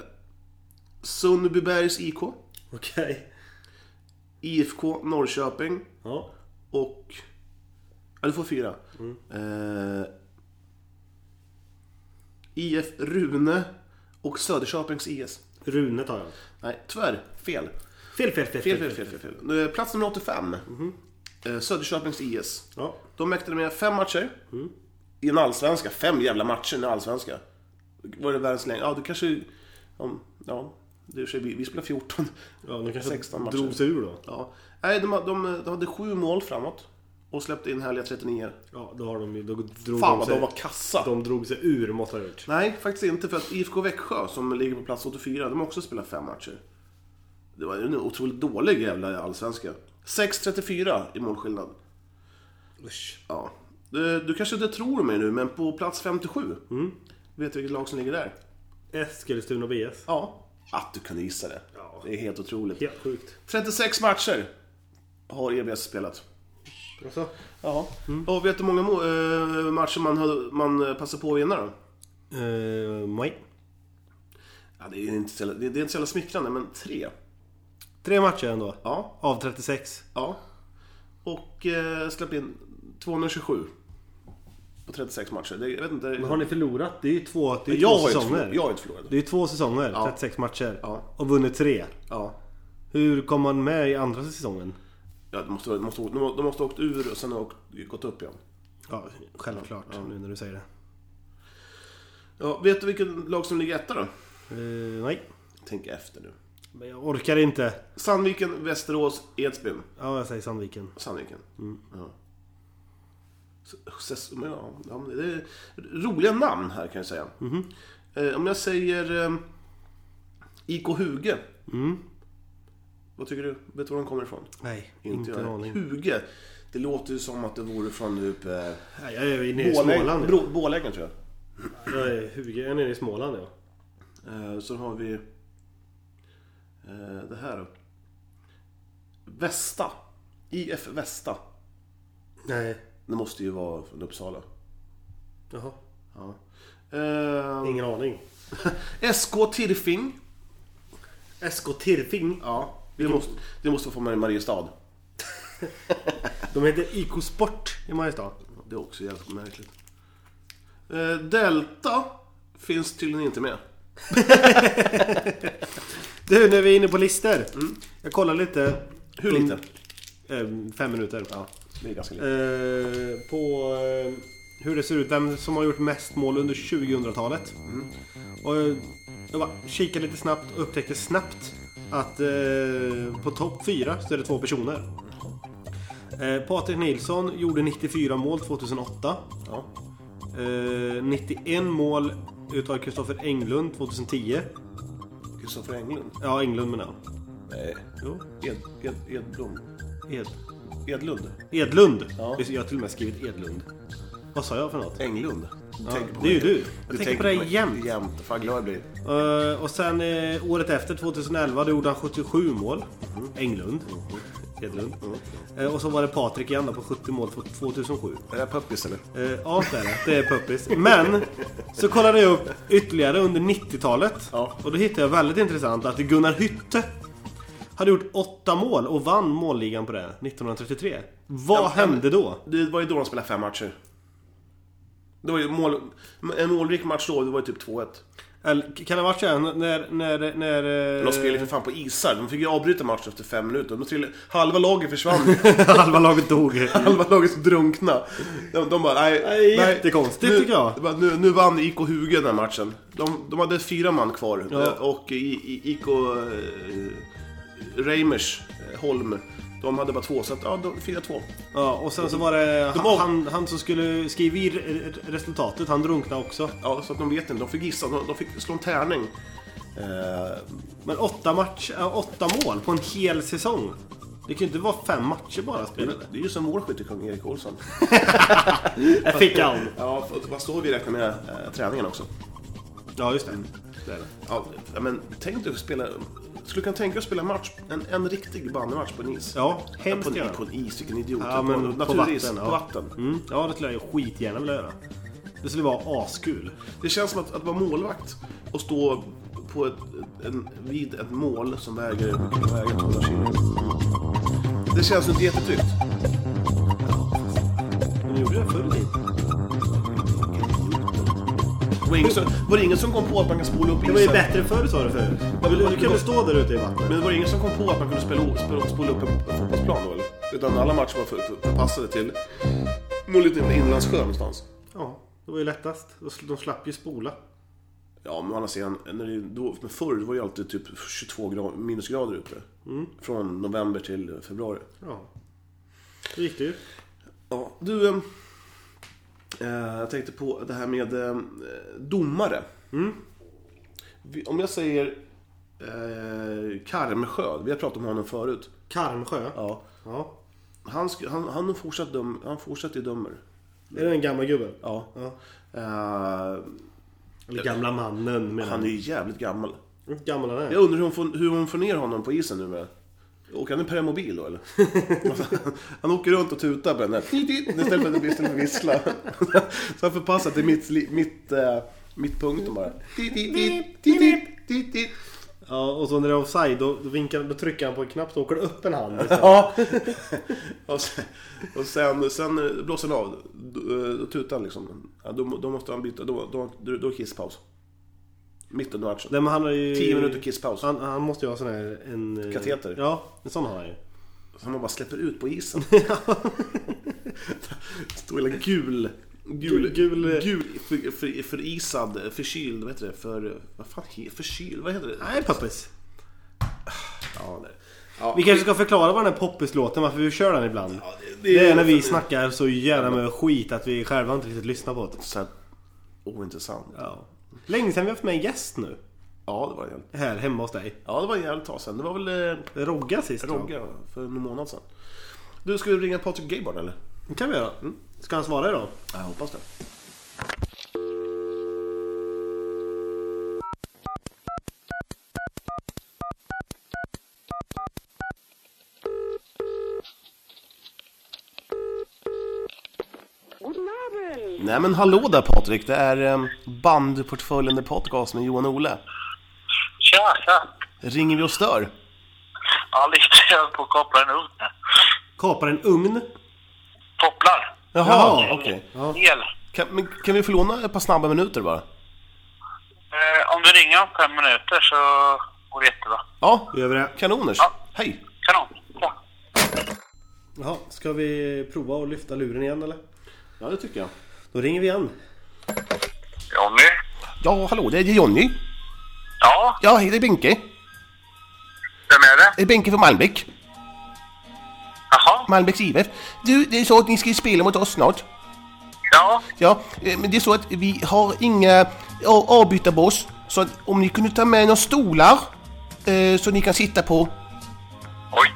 Sundbybergs IK,
Okej.
IFK Norrköping
Ja.
och... Ja, du får fyra. Eh, IF Rune och Söderköpings IS.
Rune tar jag.
Nej, tyvärr. Fel.
Fel, fel, fel.
Fel, fel, fel, fel. fel. Nu, Plats nummer 85. Eh, Söderköpings IS.
Ja.
De mäktade med fem matcher. I en allsvenska. Fem jävla matcher i en allsvenska. Var det världens längd? Ja, du kanske... om- Ja, det är i och för sig, vi, vi spelar 14.
Ja, de kanske
16 matcher.
drog sig ur då.
Ja. Nej, de, de, de hade sju mål framåt. Och släppte in härliga 39.
Ja, då har de ju... Då drog
Fan
de
vad
sig,
de var kassa!
de drog sig ur måste ha gjort.
Nej, faktiskt inte. För att IFK Växjö, som ligger på plats 84, de har också spelat fem matcher. Det var ju en otroligt dålig jävla allsvenska. 6.34 i målskillnad.
Usch.
Ja. Du, du kanske inte tror mig nu, men på plats 57.
Mm.
Vet du vilket lag som ligger där?
Eskilstuna BS.
Ja. Att du kunde gissa det.
Ja.
Det är helt otroligt.
Helt sjukt.
36 matcher har EBS spelat.
Alltså,
Ja. Mm. Och vet du hur många må- eh, matcher man, hade- man eh, passade på att vinna då?
nej.
Ja, det, är inte så, jävla- det det är inte så jävla smickrande, men tre.
Tre matcher ändå.
Ja.
Av 36.
Ja. Och eh, släppte in 227 på 36 matcher. Det, jag vet inte.
Men har ni förlorat? Det är ju två, det är ju
jag,
två
har ju inte
säsonger.
förlorat, jag har ju inte förlorat.
Det är ju två säsonger,
Ja.
36 matcher.
Ja.
Och vunnit tre.
Ja.
Hur kom man med i andra säsongen?
Ja, de, måste, de, måste, de måste- de måste ha åkt ur och sen ha åkt, gått upp igen.
Ja, självklart. Nu när du säger det.
Ja, vet du vilket lag som ligger etta då?
Eh, nej.
Tänk efter nu.
Men jag orkar inte.
Sandviken, Västerås, Edsbyn.
Ja, jag säger Sandviken.
Sandviken.
Mm.
Ja. Så- så- men ja, ja, men det är roliga namn här kan jag säga.
Mm-hmm.
Eh, om jag säger eh, IK Huge.
Mm.
Vad tycker du? Vet du var de kommer ifrån?
Nej,
Inte
inte en
jag.
aning.
Huge. Det låter ju som att det vore från typ... Eh,
Nej, jag är nere i Småland.
Borlänge,
ja.
Bro- Borlänge tror jag.
Jag är, Hugo, jag är nere i Småland ja.
Eh, så har vi... Eh, det här då. Västa. IF Västa.
Nej.
Det måste ju vara från Uppsala.
Jaha.
Ja. Eh,
Ingen aning.
SK Tirfing.
SK Tirfing.
Ja, det måste, det måste få med i Mariestad.
De heter IK Sport i Mariestad.
Det är också jävligt märkligt. Eh, Delta finns tydligen inte med.
Du, när vi är inne på listor. Jag kollar lite.
Mm. Hur lite?
Eh, fem minuter.
Det är ganska lite.
Eh, på eh, hur det ser ut, vem som har gjort mest mål under 2000-talet. Och eh, jag bara kikade lite snabbt och upptäckte snabbt att eh, på topp fyra så är det två personer. Eh, Patrik Nilsson gjorde 94 mål 2008.
Ja.
Eh, 91 mål utav Kristoffer Englund 2010.
Kristoffer Englund?
Ja, Englund menar jag.
Nej.
Jo.
Ed, Ed, Edblom?
Ed.
Edlund?
Edlund.
Ja.
Just, Jag har till och med skrivit Edlund. Vad sa jag för något?
Englund?
Ja, det är ju du. Jag tänker på dig jämt.
Jämt. Fan glad jag blir.
Eh, och sen eh, året efter, 2011, då gjorde han 77 mål. Englund. Edlund. Eh, och så var det Patrik igen då på 70 mål för 2007.
Är det puppis eller?
Eh, ja, det är det. Det är puppis. Men så kollade jag upp ytterligare under 90-talet.
Ja.
Och då hittade jag väldigt intressant att Gunnar Hytte hade gjort åtta mål och vann målligan på det 1933. Vad
Ja, men-
hände då?
Det var ju då de spelade fem matcher. Det var ju mål, en målrik match då, det var ju typ 2-1.
Eller, kan det ha varit så här när... när, när eh,
De spelade ju för fan på isar. De fick ju avbryta matchen efter fem minuter. De trillade, halva laget försvann.
halva laget dog?
halva laget drunkna. De, de bara, nej.
Nej,
nej.
jättekonstigt
nu,
tycker jag.
det bara, Nu, nu vann IK Huge den här matchen. De, de hade fyra man kvar.
Ja.
Och i, i, IK eh, Reimers, eh, Holm, de hade bara två. Så att, ja, de, 4-2.
Ja, och sen så var det
De av-
han, han som skulle skriva i re- resultatet, han drunknade också.
Ja, så att de vet inte. De fick gissa. De, de fick slå en tärning. Eh,
Men åtta, match, äh, åtta mål på en hel säsong. Det kan ju inte vara fem matcher bara spelade.
det är ju som vår skyttekung Erik Olsson.
Jag fick han.
Ja, för- vad står vi räknar med eh, träningen också.
Ja, just det. det, är det.
Ja, ja, men tänk dig att spela... Skulle du kunna tänka dig att spela match, en, en riktig bandymatch på en is?
Ja,
på,
hemskt
en,
gärna.
på en is, vilken idiot.
Ja, men
en
på
naturis,
vatten, ja.
på vatten.
Mm. Ja, det skulle jag ju skitgärna vilja göra. Det skulle vara askul.
Det känns som att, att vara målvakt och stå på ett, en, vid ett mål som väger, kan väga 200 kilo. Det känns inte jättetryggt.
Men gjorde det förr i tiden.
Det var, ingen som, var det ingen som kom på att man kan spola upp isen?
Det var ju bättre förr sa du förut.
men
Du,
vad-
du kan väl stå där ute i vattnet?
Men det var ingen som kom på att man kunde spela, spela, spola upp en fotbollsplan då eller? Utan alla matcher var för- för- förpassade till någon liten inlandssjö någonstans.
Ja, det var ju lättast. De sl- De slapp ju spola.
Ja, men å andra sidan, när det, då, men förr var det ju alltid typ 22 grad, minusgrader ute. Från november till februari.
Ja. Det gick det ju.
Ja, du, ehm, eh, jag tänkte på det här med eh, domare. Vi- Om jag säger eh, Karmsjö, vi har pratat om honom förut.
Karmsjö.
Ja.
Ja.
Han, sk- han, han, fortsatt döm, han fortsatt ju dömer.
Är det den gamla gubben?
Ja.
Ja.
Eh,
Eller gamla mannen menar
han är
jag.
ju jävligt gammal.
Gammal han är.
Jag undrar hur hon får, hur hon får ner honom på isen nu med. Åker han i permobil då eller? han åker runt och tutar på den där. Istället för att det blir istället för att vissla. Så han förpassar till mitt, li- mitt, eh, mitt punkten bara.
Ja, och så när det är offside då, då, vinkar, då trycker han på en knapp så åker det upp en hand. liksom.
Ja. Och sen, och sen, sen blåser han av. Då, då tutar han liksom. Ja, då, då måste han byta. Då, då, då, då är kisspaus. Mitt under matchen.
Nej, men han har ju...
10 minuter kisspaus.
Han, han måste ju ha sån här... En, eh,
Kateter.
Ja, en sån har han ju.
Som man bara släpper ut på isen. Stor lilla gul...
Gul-
Gul, gul, gul för, för, förisad, förkyld, vad heter det? För, vad fan he, förkyld, vad heter det?
Nej, poppis.
Ja, nej. Ja,
Vi kanske ska förklara vad den här poppislåten, varför vi kör den ibland.
ja, det,
det, är när vi snackar så jävla med skit att vi själva inte riktigt lyssnar på det.
Så här, ointressant.
Ja. Länge sedan vi haft med en gäst nu.
Ja, det var en jävligt...
Här hemma hos dig.
Ja, det var en jävligt tag sedan. Det var väl eh,
Rogga sist va?
Rogge för en månad sedan. Du, ska vi ringa Patrik Gayborn eller?
Det kan vi göra. Ska han svara idag?
Ja, jag hoppas det. Nej men hallå där Patrik, det är eh, Bandportföljen The Podcast med Johan och Ole.
Tja, tja.
Ringer vi och stör?
Ja, lite. Jag höll på att koppla en ugn. här.
Kapar en ugn.
Kopplar.
Jaha,
Jaha.
okej.
El.
Kan, men kan vi få låna ett par snabba minuter bara?
Eh, om du ringer om fem minuter så går det jättebra.
Ja,
Vi gör det.
kanoners.
Ja.
Hej!
Kanon. Ja.
Jaha, ska vi prova att lyfta luren igen eller?
Ja, det tycker jag.
Då ringer vi igen.
Jonny?
Ja, hallå, det är Jonny.
Ja,
Ja, hej, det är Benke.
vem är det?
Det är Benke från Malmbäck.
Jaha.
Malmbäcks IF. Du, det är så att ni ska ju spela mot oss snart.
Ja,
Ja, eh, men det är så att vi har inga a- avbytarboss. Så att om ni kunde ta med några stolar eh, så ni kan sitta på.
Oj!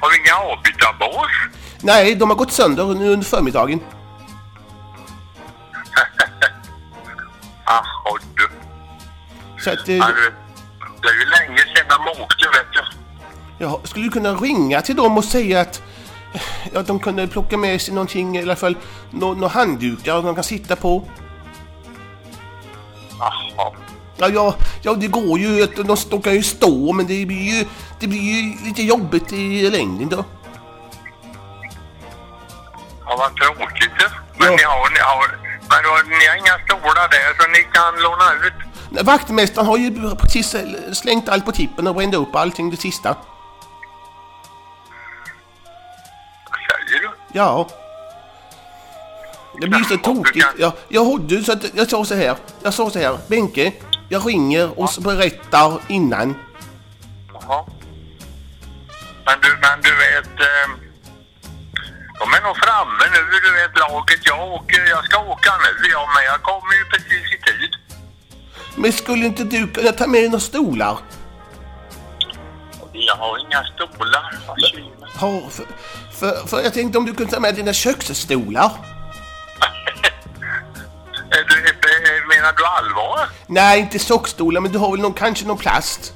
Har vi inga avbytarbås?
Nej, de har gått sönder nu under förmiddagen.
Jaha du.
Så att... Eh,
Ja, du. Det är ju länge sedan de åkte vet du.
Ja, skulle du kunna ringa till dem och säga att, att de kunde plocka med sig någonting, i alla fall några nå handdukar de kan sitta på?
Jaha.
Ja, ja, ja, det går ju. att De, de kan ju stå, men det blir ju, det blir ju lite jobbigt i längden då.
Ja, vad tråkigt ju. Men
Ja.
ni har, ni har, men då, ni har inga stolar där så ni kan låna ut.
Nej, Vaktmästaren har ju precis slängt allt på tippen och bränt upp allting det sista.
Vad säger du?
Ja. Det blir så tokigt. Ja, jag hade så att jag sa så här. Jag sa så här. Benke, jag ringer och så berättar innan.
Jaha. Men du, men du vet. Eh, de är nog framme nu, du vet laget. Jag, åker, jag ska åka nu jag men jag kommer ju precis i tid.
Men skulle inte du kunna ta med dig några stolar?
Jag har inga stolar. Vad synd.
Ja, för, för, för jag tänkte om du kunde ta med dina köksstolar?
Är du, är, menar du allvar?
Nej, inte sockstolar, men du har väl någon, kanske någon plast?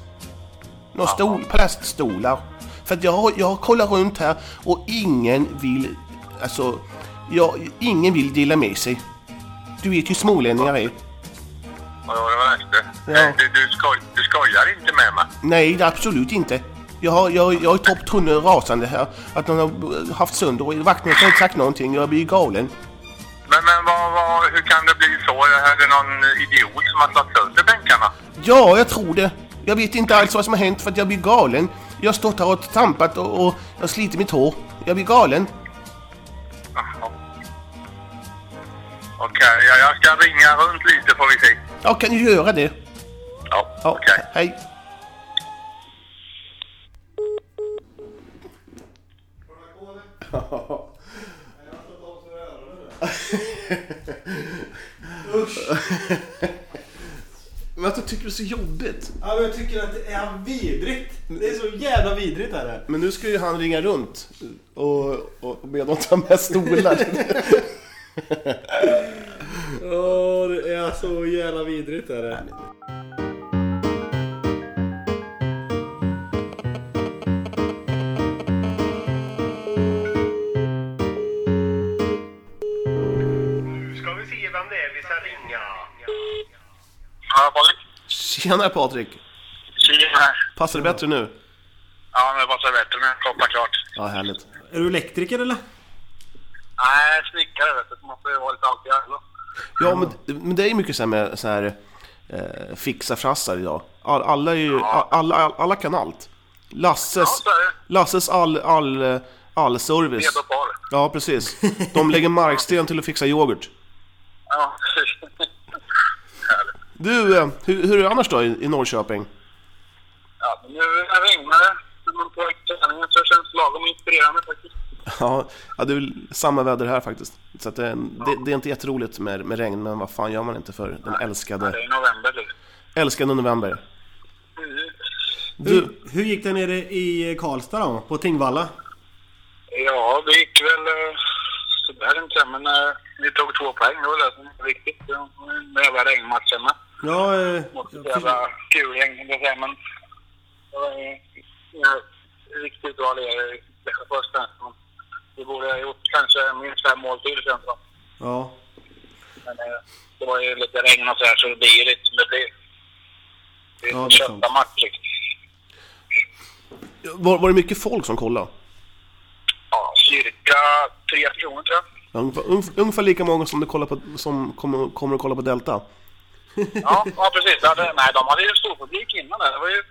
Några stol, plaststolar? För att jag, har- jag kollar runt här och ingen vill... Alltså, jag, ingen vill dela med sig. Du vet ju smålänningar är.
Ja, det var det.
Ja.
Eh, Du, du, skoj, du skojar inte med mig?
Nej, det är absolut inte. Jag, har, jag, jag är topp tunnel rasande här. Att någon har haft sönder och vakten har inte sagt någonting. Jag blir galen.
Men, men vad, vad, hur kan det bli så? Är det någon idiot som har slagit sönder bänkarna?
Ja, jag tror det. Jag vet inte alls vad som har hänt för att jag blir galen. Jag har stått här och trampat och, och jag sliter mitt hår. Jag blir galen.
Jaha. Okej, ja, jag ska ringa runt lite får vi se.
Ja, kan du göra det?
Ja,
Ja,
okej.
hej.
Men att jag tycker det är så jobbigt.
Ja, men jag tycker att det är vidrigt. Det är så jävla vidrigt är det.
Men nu ska ju han ringa runt och, och be dem ta med stolar.
Åh, det är så jävla vidrigt är det.
Ska vi se vem det är vi ska ringa?
Ja, Patrik.
Tjena Patrik!
Tjena här.
Passar det bättre nu?
Ja, nu passar det bättre. Nu pratar klart.
Ja, härligt.
Är du elektriker eller?
Nej, snickare vet du. Det måste ju vara lite allt i allo.
Ja, men, men det är ju mycket så här med så här, eh, fixa frassar idag. All, alla, är ju, alla, alla, alla kan allt. Lasses,
Ja, så är det.
Lasses all, all, eh, all service.
Med och par.
Ja, precis. De lägger marksten till att fixa yoghurt.
Ja, precis. Härligt.
Du, eh, hur, hur är det annars då i, i Norrköping?
Ja, men nu regnar det. När man på träningen så känns det lagom inspirerande faktiskt.
Ja, ja, det är väl samma väder här faktiskt. Så att det, det, det är inte jätteroligt med, med regn, men vad fan gör man inte för den
Det
älskade,
är november det.
älskade november?
Mm.
Du,
Hur, hur gick det nere i Karlstad då? På Tingvalla?
Ja, det gick väl eh, sådär inte, men eh, ni tog två poäng. Det var det som var viktigt. eh, Det var en jävla regnmatch hemma.
Ja, eh,
Mot ett
jag förstår-
jävla kulgäng, kan jag säga. Men det var ju inga riktigt bra lirare i det första. Men Vi borde ha gjort kanske minst fem mål till, känns det som.
ja.
Men eh, det var ju lite regn och sådär, så det blir lite som det blir. Det
Ja, det
är
är
en
sant.
kötta match liksom.
var, var det mycket folk som kollade?
Ja, cirka tre personer tror jag.
Ungefär, ungef- ungefär lika många som, du kollar på, som kommer, kommer att kolla på Delta.
Ja, ja precis. Ja, det, nej, de hade ju stor publik innan där. Det var ju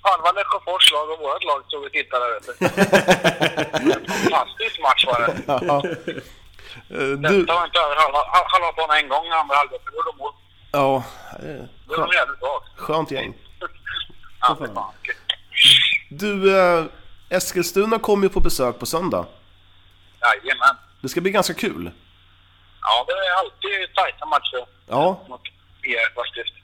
halva Lesjöfors lag och vårt lag stod och tittade. Vet du. En fantastisk match var det.
Eh, Du,
Detta var inte över halva, hal- halva banan en gång i andra halvlek. Det gjorde de mål.
ja, eh,
Det var de jävligt bra.
skönt gäng.
Ja, för fan.
Du, eh, Eskilstuna kommer ju på besök på söndag.
Jajamän.
Det ska bli ganska kul.
Ja, det är alltid tajta matcher
Ja,
mot er typ. stift.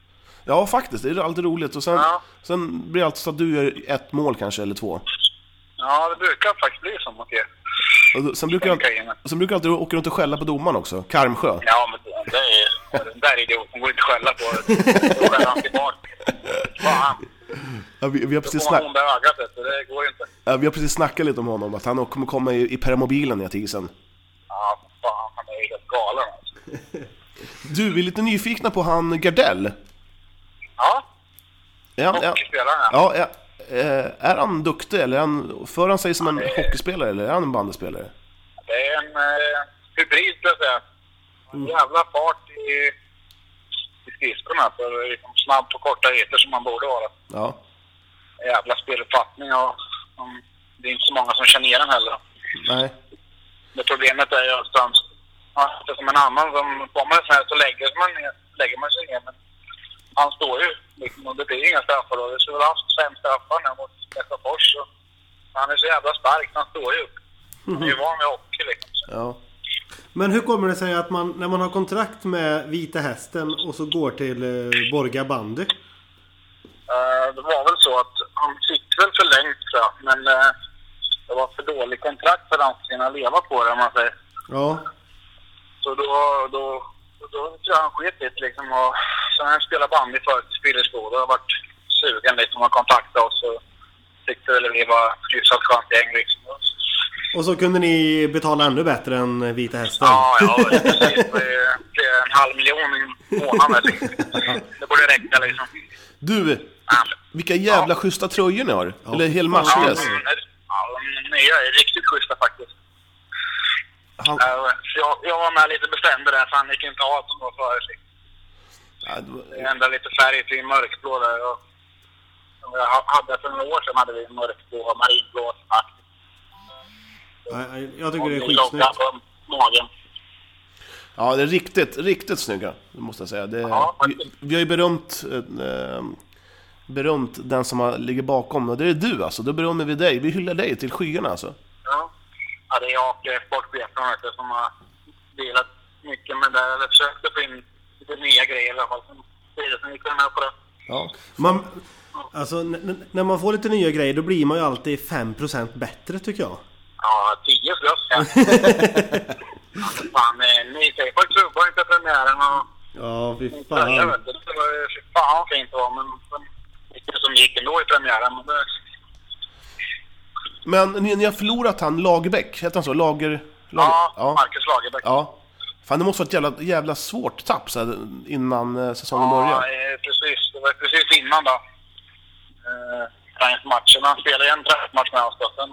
Ja, faktiskt. Det är alltid roligt. Och sen,
Ja.
sen blir det alltid så att du gör ett mål kanske, eller två.
Ja, det brukar faktiskt bli så mot er.
Och då- sen, brukar jag, sen brukar jag alltid åka runt och skälla på domaren också. Karmsjö.
Ja, men det- det är, den där idioten går inte att skälla på. Då skäller han tillbaka. Fan,
Ja, vi, vi, har
då
precis
får man
snack,
onda ögat vet du. Det går ju inte.
ja, vi har precis snackat lite om honom, att han kommer komma i, i permobilen när jag till sen.
Ja, fan, han är ju helt galen alltså.
Du, vi är lite nyfikna på han Gardell.
Ja,
Är han, är,
hockeyspelaren ja.
ja, är, eh, är han duktig eller är han, för han sig som en hockeyspelare eller är han en bandespelare?
Det är en eh, hybrid, skulle jag säga. En jävla fart i, i skridskorna. För liksom snabb på korta heter som man borde vara.
Ja.
Jävla speluppfattning och um, det är inte så många som känner igen den heller.
Nej.
Men problemet är ju att han, han är som en annan som får man en sån här så lägger man, ner, lägger man sig ner. Men han står ju liksom, och det blir ju inga straffar då. Vi skulle väl haft fem straffar nu mot Lesjöfors. och Han är så jävla stark, så han står ju upp. Han är ju van vid hockey liksom. Så,
Ja.
Men hur kommer det sig att man, när man har kontrakt med Vita Hästen och så går till eh, Borga bandy?
eh, det var väl så att han fick väl förlängt tror jag. Men eh, det var för dålig kontrakt för att han skulle kunna leva på det om man säger.
Ja.
Så då, då, då, tror jag han sket lite liksom. Och sen har jag spelat bandy förut i Spillersbo. Då har jag varit sugen liksom och kontaktat oss. Och tyckte väl vi var ett hyfsat skönt gäng liksom.
Och så kunde ni betala ännu bättre än Vita Hästen?
Ja, ja, precis. Det är- det är en halv miljon i månaden liksom. Det borde räcka liksom.
Du,
Ja,
vilka jävla schyssta tröjor ni har. Eller hel
ja,
matchdress.
de- ja, de nya är riktigt schyssta faktiskt.
Han-
Eh, så Jag, jag var med lite bestämd där, för han gick inte av som var förut. liksom.
Ja, det var-
Jag ändrade lite färg till mörkblå där. Och som jag ha- hade för några år sedan hade vi mörkblå och marinblå svart.
Ja, Jag tycker
Och
det är
min logga
skitsnyggt.
på magen.
Ja, det är riktigt, riktigt snygga. Det måste jag säga. Det,
Ja,
vi,
faktiskt.
vi har ju berömt, eh, berömt den som har, ligger bakom. Och det är du alltså. Då berömmer vi dig. Vi hyllar dig till skyarna alltså.
Ja. ja, det är jag och eh, sportchefen vet du, som har delat mycket med det. här, Eller försökt att få in lite nya grejer i alla fall. som- grejer Som vi kunde med på det.
Ja.
Man, alltså, n- n- när man får lite nya grejer då blir man ju alltid 5% bättre tycker jag.
Ja, 10 plus ja. Alltså, Fan, eh, ni säger på klubbar inte premiären och
Ja, fy
tröja
fan.
vet du. Det var ju fy fan vad fint det var. Men men mycket som gick ändå i premiären. Men det,
Men ni, ni har förlorat han Lagerbäck, heter han så? Lager... Lager
Ja, Marcus Lagerbäck.
Ja. Fan, det måste vara ett jävla, jävla svårt tapp så här, innan eh, säsongen börjar.
Ja, eh, precis. Det var precis innan då. Eh, träningsmatchen. Han spelade en träningsmatch med oss då. Sen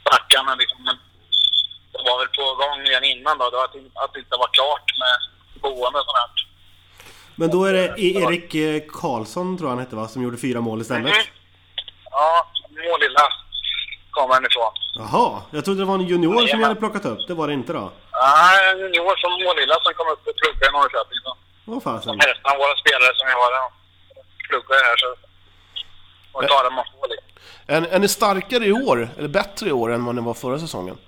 stack han liksom. Men det var väl på gång redan innan då. Det var att, att det inte var klart med boende och sånt här.
Men då är det E- Erik eh, Karlsson tror jag han hette va? Som gjorde fyra mål istället.
Mhm. Ja, må lilla kom han ifrån.
Jaha, jag trodde det var en junior som ni hade plockat upp. Det var det inte då?
Nej, en junior från Målilla som kom upp och pluggade i Norrköping. då.
Vad fasen.
Hälften av våra spelare som vi har de pluggar här så... Och tar det man får liksom.
Är, är ni starkare i år, eller bättre i år, än vad ni var förra säsongen?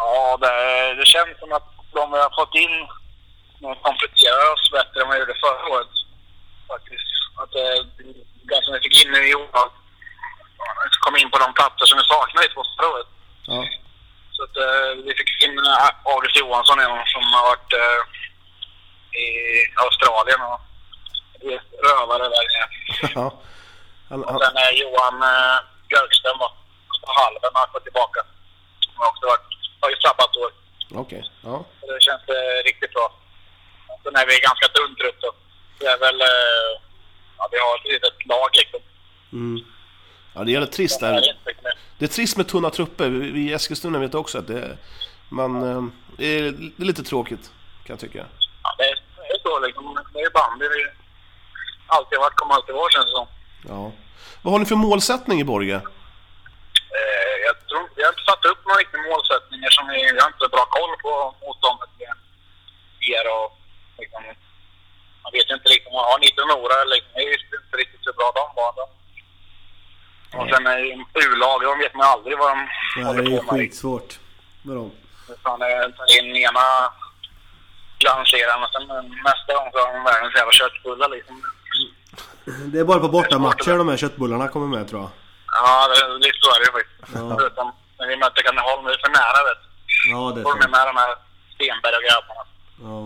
Ja, det, det känns som att de vi har fått in de kompletterar oss bättre än vad vi gjorde förra året. Faktiskt. Att eh, det som vi fick in nu i år att kom in på de platser som vi saknade i förra året.
Ja.
Så att, eh, vi fick in eh, August Johansson en som har varit eh, i Australien och är rövare där nere.
ja. Han, han,
Och sen är Johan eh, Björkström då, på halven har gått tillbaka. Han har också varit, har ju sabbatsår.
Okej. Ja.
Så Det känns eh, riktigt bra. Sen är vi ganska tunn trupp då. Det är väl... Eh, ja, vi har ett litet lag liksom.
ja, det är jävla trist det
Det
här.
är inte mycket mer.
Det är trist med tunna trupper. Vi, vi i Eskilstuna vet också att det, man, eh, det är det är lite tråkigt, kan jag tycka.
Ja, det, är, det är så liksom. Det är ju bandy. Det är alltid varit, kommer alltid vara känns det som.
Ja. Vad har ni för målsättning i Borga?
Eh, jag tror, vi har inte satt upp några riktiga målsättningar som vi, vi har inte bra koll på motståndet vi ger och liksom, man vet ju inte riktigt, man har inte några liksom, det är ju inte riktigt hur bra de var då. Och sen är ju U-lag, de vet man ju aldrig vad de
Det här
håller liksom.
är ju
på med.
skitsvårt. Med dem.
Utan eh, tar in ena lanserar den och sen eh, nästa gång så har de världens jävla köttbullar liksom.
Det är bara på bortamatcher de här köttbullarna kommer med tror jag.
Ja, det, är lite så är det ju faktiskt.
Ja.
Förutom när vi mötte Katrineholm, det är för nära vet du.
Ja, det är
Då är de
sant.
med de här Stenberg och grabbarna.
Ja.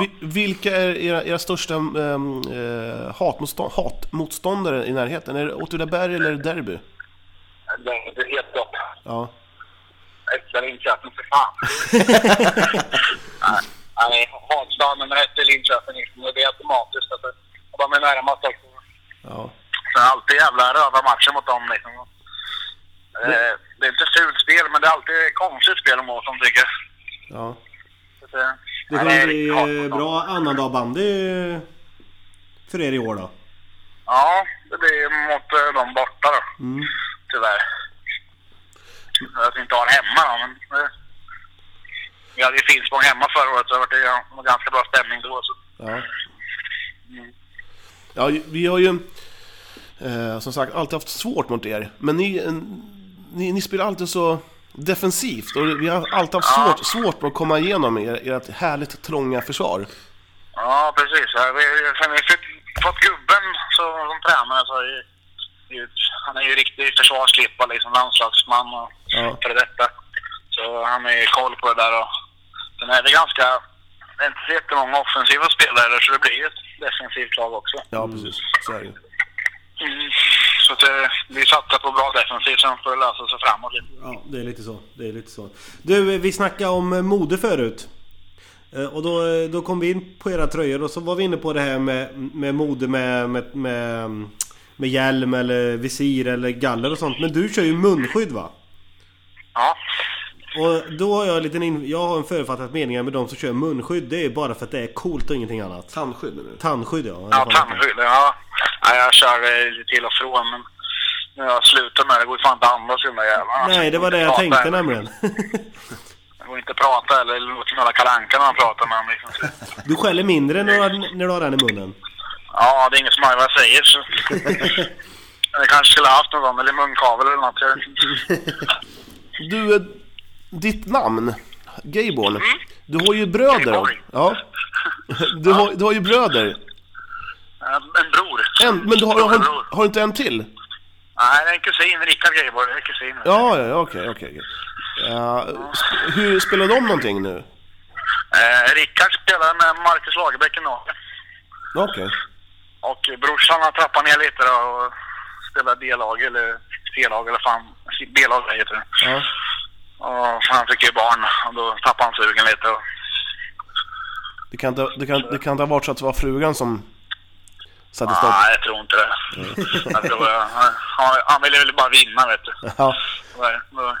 Vi, vilka är era, era största ehm, eh, hatmotstå- hatmotståndare i närheten? Är det Åtvidaberg eller är det derby?
Det- Det är helt gott.
Ja.
Efter Linköping, för fan. Nej, Nej, hatstad nummer ett är Linköping liksom. Det är automatiskt. Att det- de är närmast också.
ja.
Så det är alltid jävla röda matcher mot dem liksom. Eh, Det är inte fult spel, men det är alltid konstigt spel mot dem tycker jag.
Ja.
Så att, eh,
Det
nej, är
kommer
riktigt hat
bli eh,
mot dem.
bra annandag bandy för er i år då.
Ja, det blir mot eh, dem borta då. Tyvärr. Att vi inte har hemma då, men... eh, Vi hade ju Finspång hemma förra året så det var ganska bra stämning då. Så.
Ja. ja, vi har ju eh, som sagt alltid haft svårt mot er. Men ni, en- ni, ni spelar alltid så defensivt och vi har alltid haft svårt, svårt att komma igenom er, ert härligt trånga försvar.
Ja, precis. Ja, Vi, sen vi fick, fått gubben så, som tränare så är ju, ju, han är ju riktig försvarslippa liksom, landslagsman och
Ja.
före detta. Så han har ju koll på det där och sen är det ganska, det är inte så jättemånga offensiva spelare så det blir ju ett defensivt lag också.
Ja, precis. Så är det ju.
Mm. Så att, eh, vi satsar på bra defensivt sen får det lösa sig framåt lite.
Ja, det är lite så. Det är lite så. Du, vi snackade om mode förut. Eh, Och då, då kom vi in på era tröjor och så var vi inne på det här med, med mode med, med, med, med hjälm eller visir eller galler och sånt. Men du kör ju munskydd va?
Ja.
Och då har jag, lite in, jag har en förutfattad mening med de som kör munskydd. Det är ju bara för att det är coolt och ingenting annat.
Tandskydd menar du?
Tandskydd ja.
Ja, tandskydd. Ja. ja, jag kör eh, lite till och från men nu har jag slutat med det. Det går ju fan inte att andas i de där jävlarna.
Nej, det var det jag
Prata
tänkte
heller.
nämligen.
Det går inte att prata eller låta som jävla kalanka när man pratar med dem liksom.
Du skäller mindre när du har, när du har den i munnen.
Ja, det är ingen som hör vad jag säger så... Jag kanske skulle ha haft någon sån, eller munkavel eller något. Jag vet inte.
Du, eh, ditt namn, Gayborn. Du har ju bröder. då.
Gayborn.
Ja. Du, har, du har ju bröder.
Eh, En bror.
En, men du har,
Stor
har,
bror.
har du inte en till?
Nej, det är en kusin. Rickard Greiborg. Det är kusin.
Ja, ja, ja, okej, okej. okej. Ja, sp- hur spelar de någonting nu?
Eh, Rickard spelar med Marcus Lagerbäck i Norge.
Ja, Okej.
Och brorsan har trappat ner lite då och spelar D-lag eller C-lag eller fan, B-lag heter det.
Ja.
Och han fick ju barn och då tappade han sugen lite. Och,
Det kan inte, det kan, det kan inte ha varit så att det var frugan som satte stopp?
nej, jag tror inte det. jag tror, jag- han, han ville väl bara vinna vet du.
Ja,
Där, då-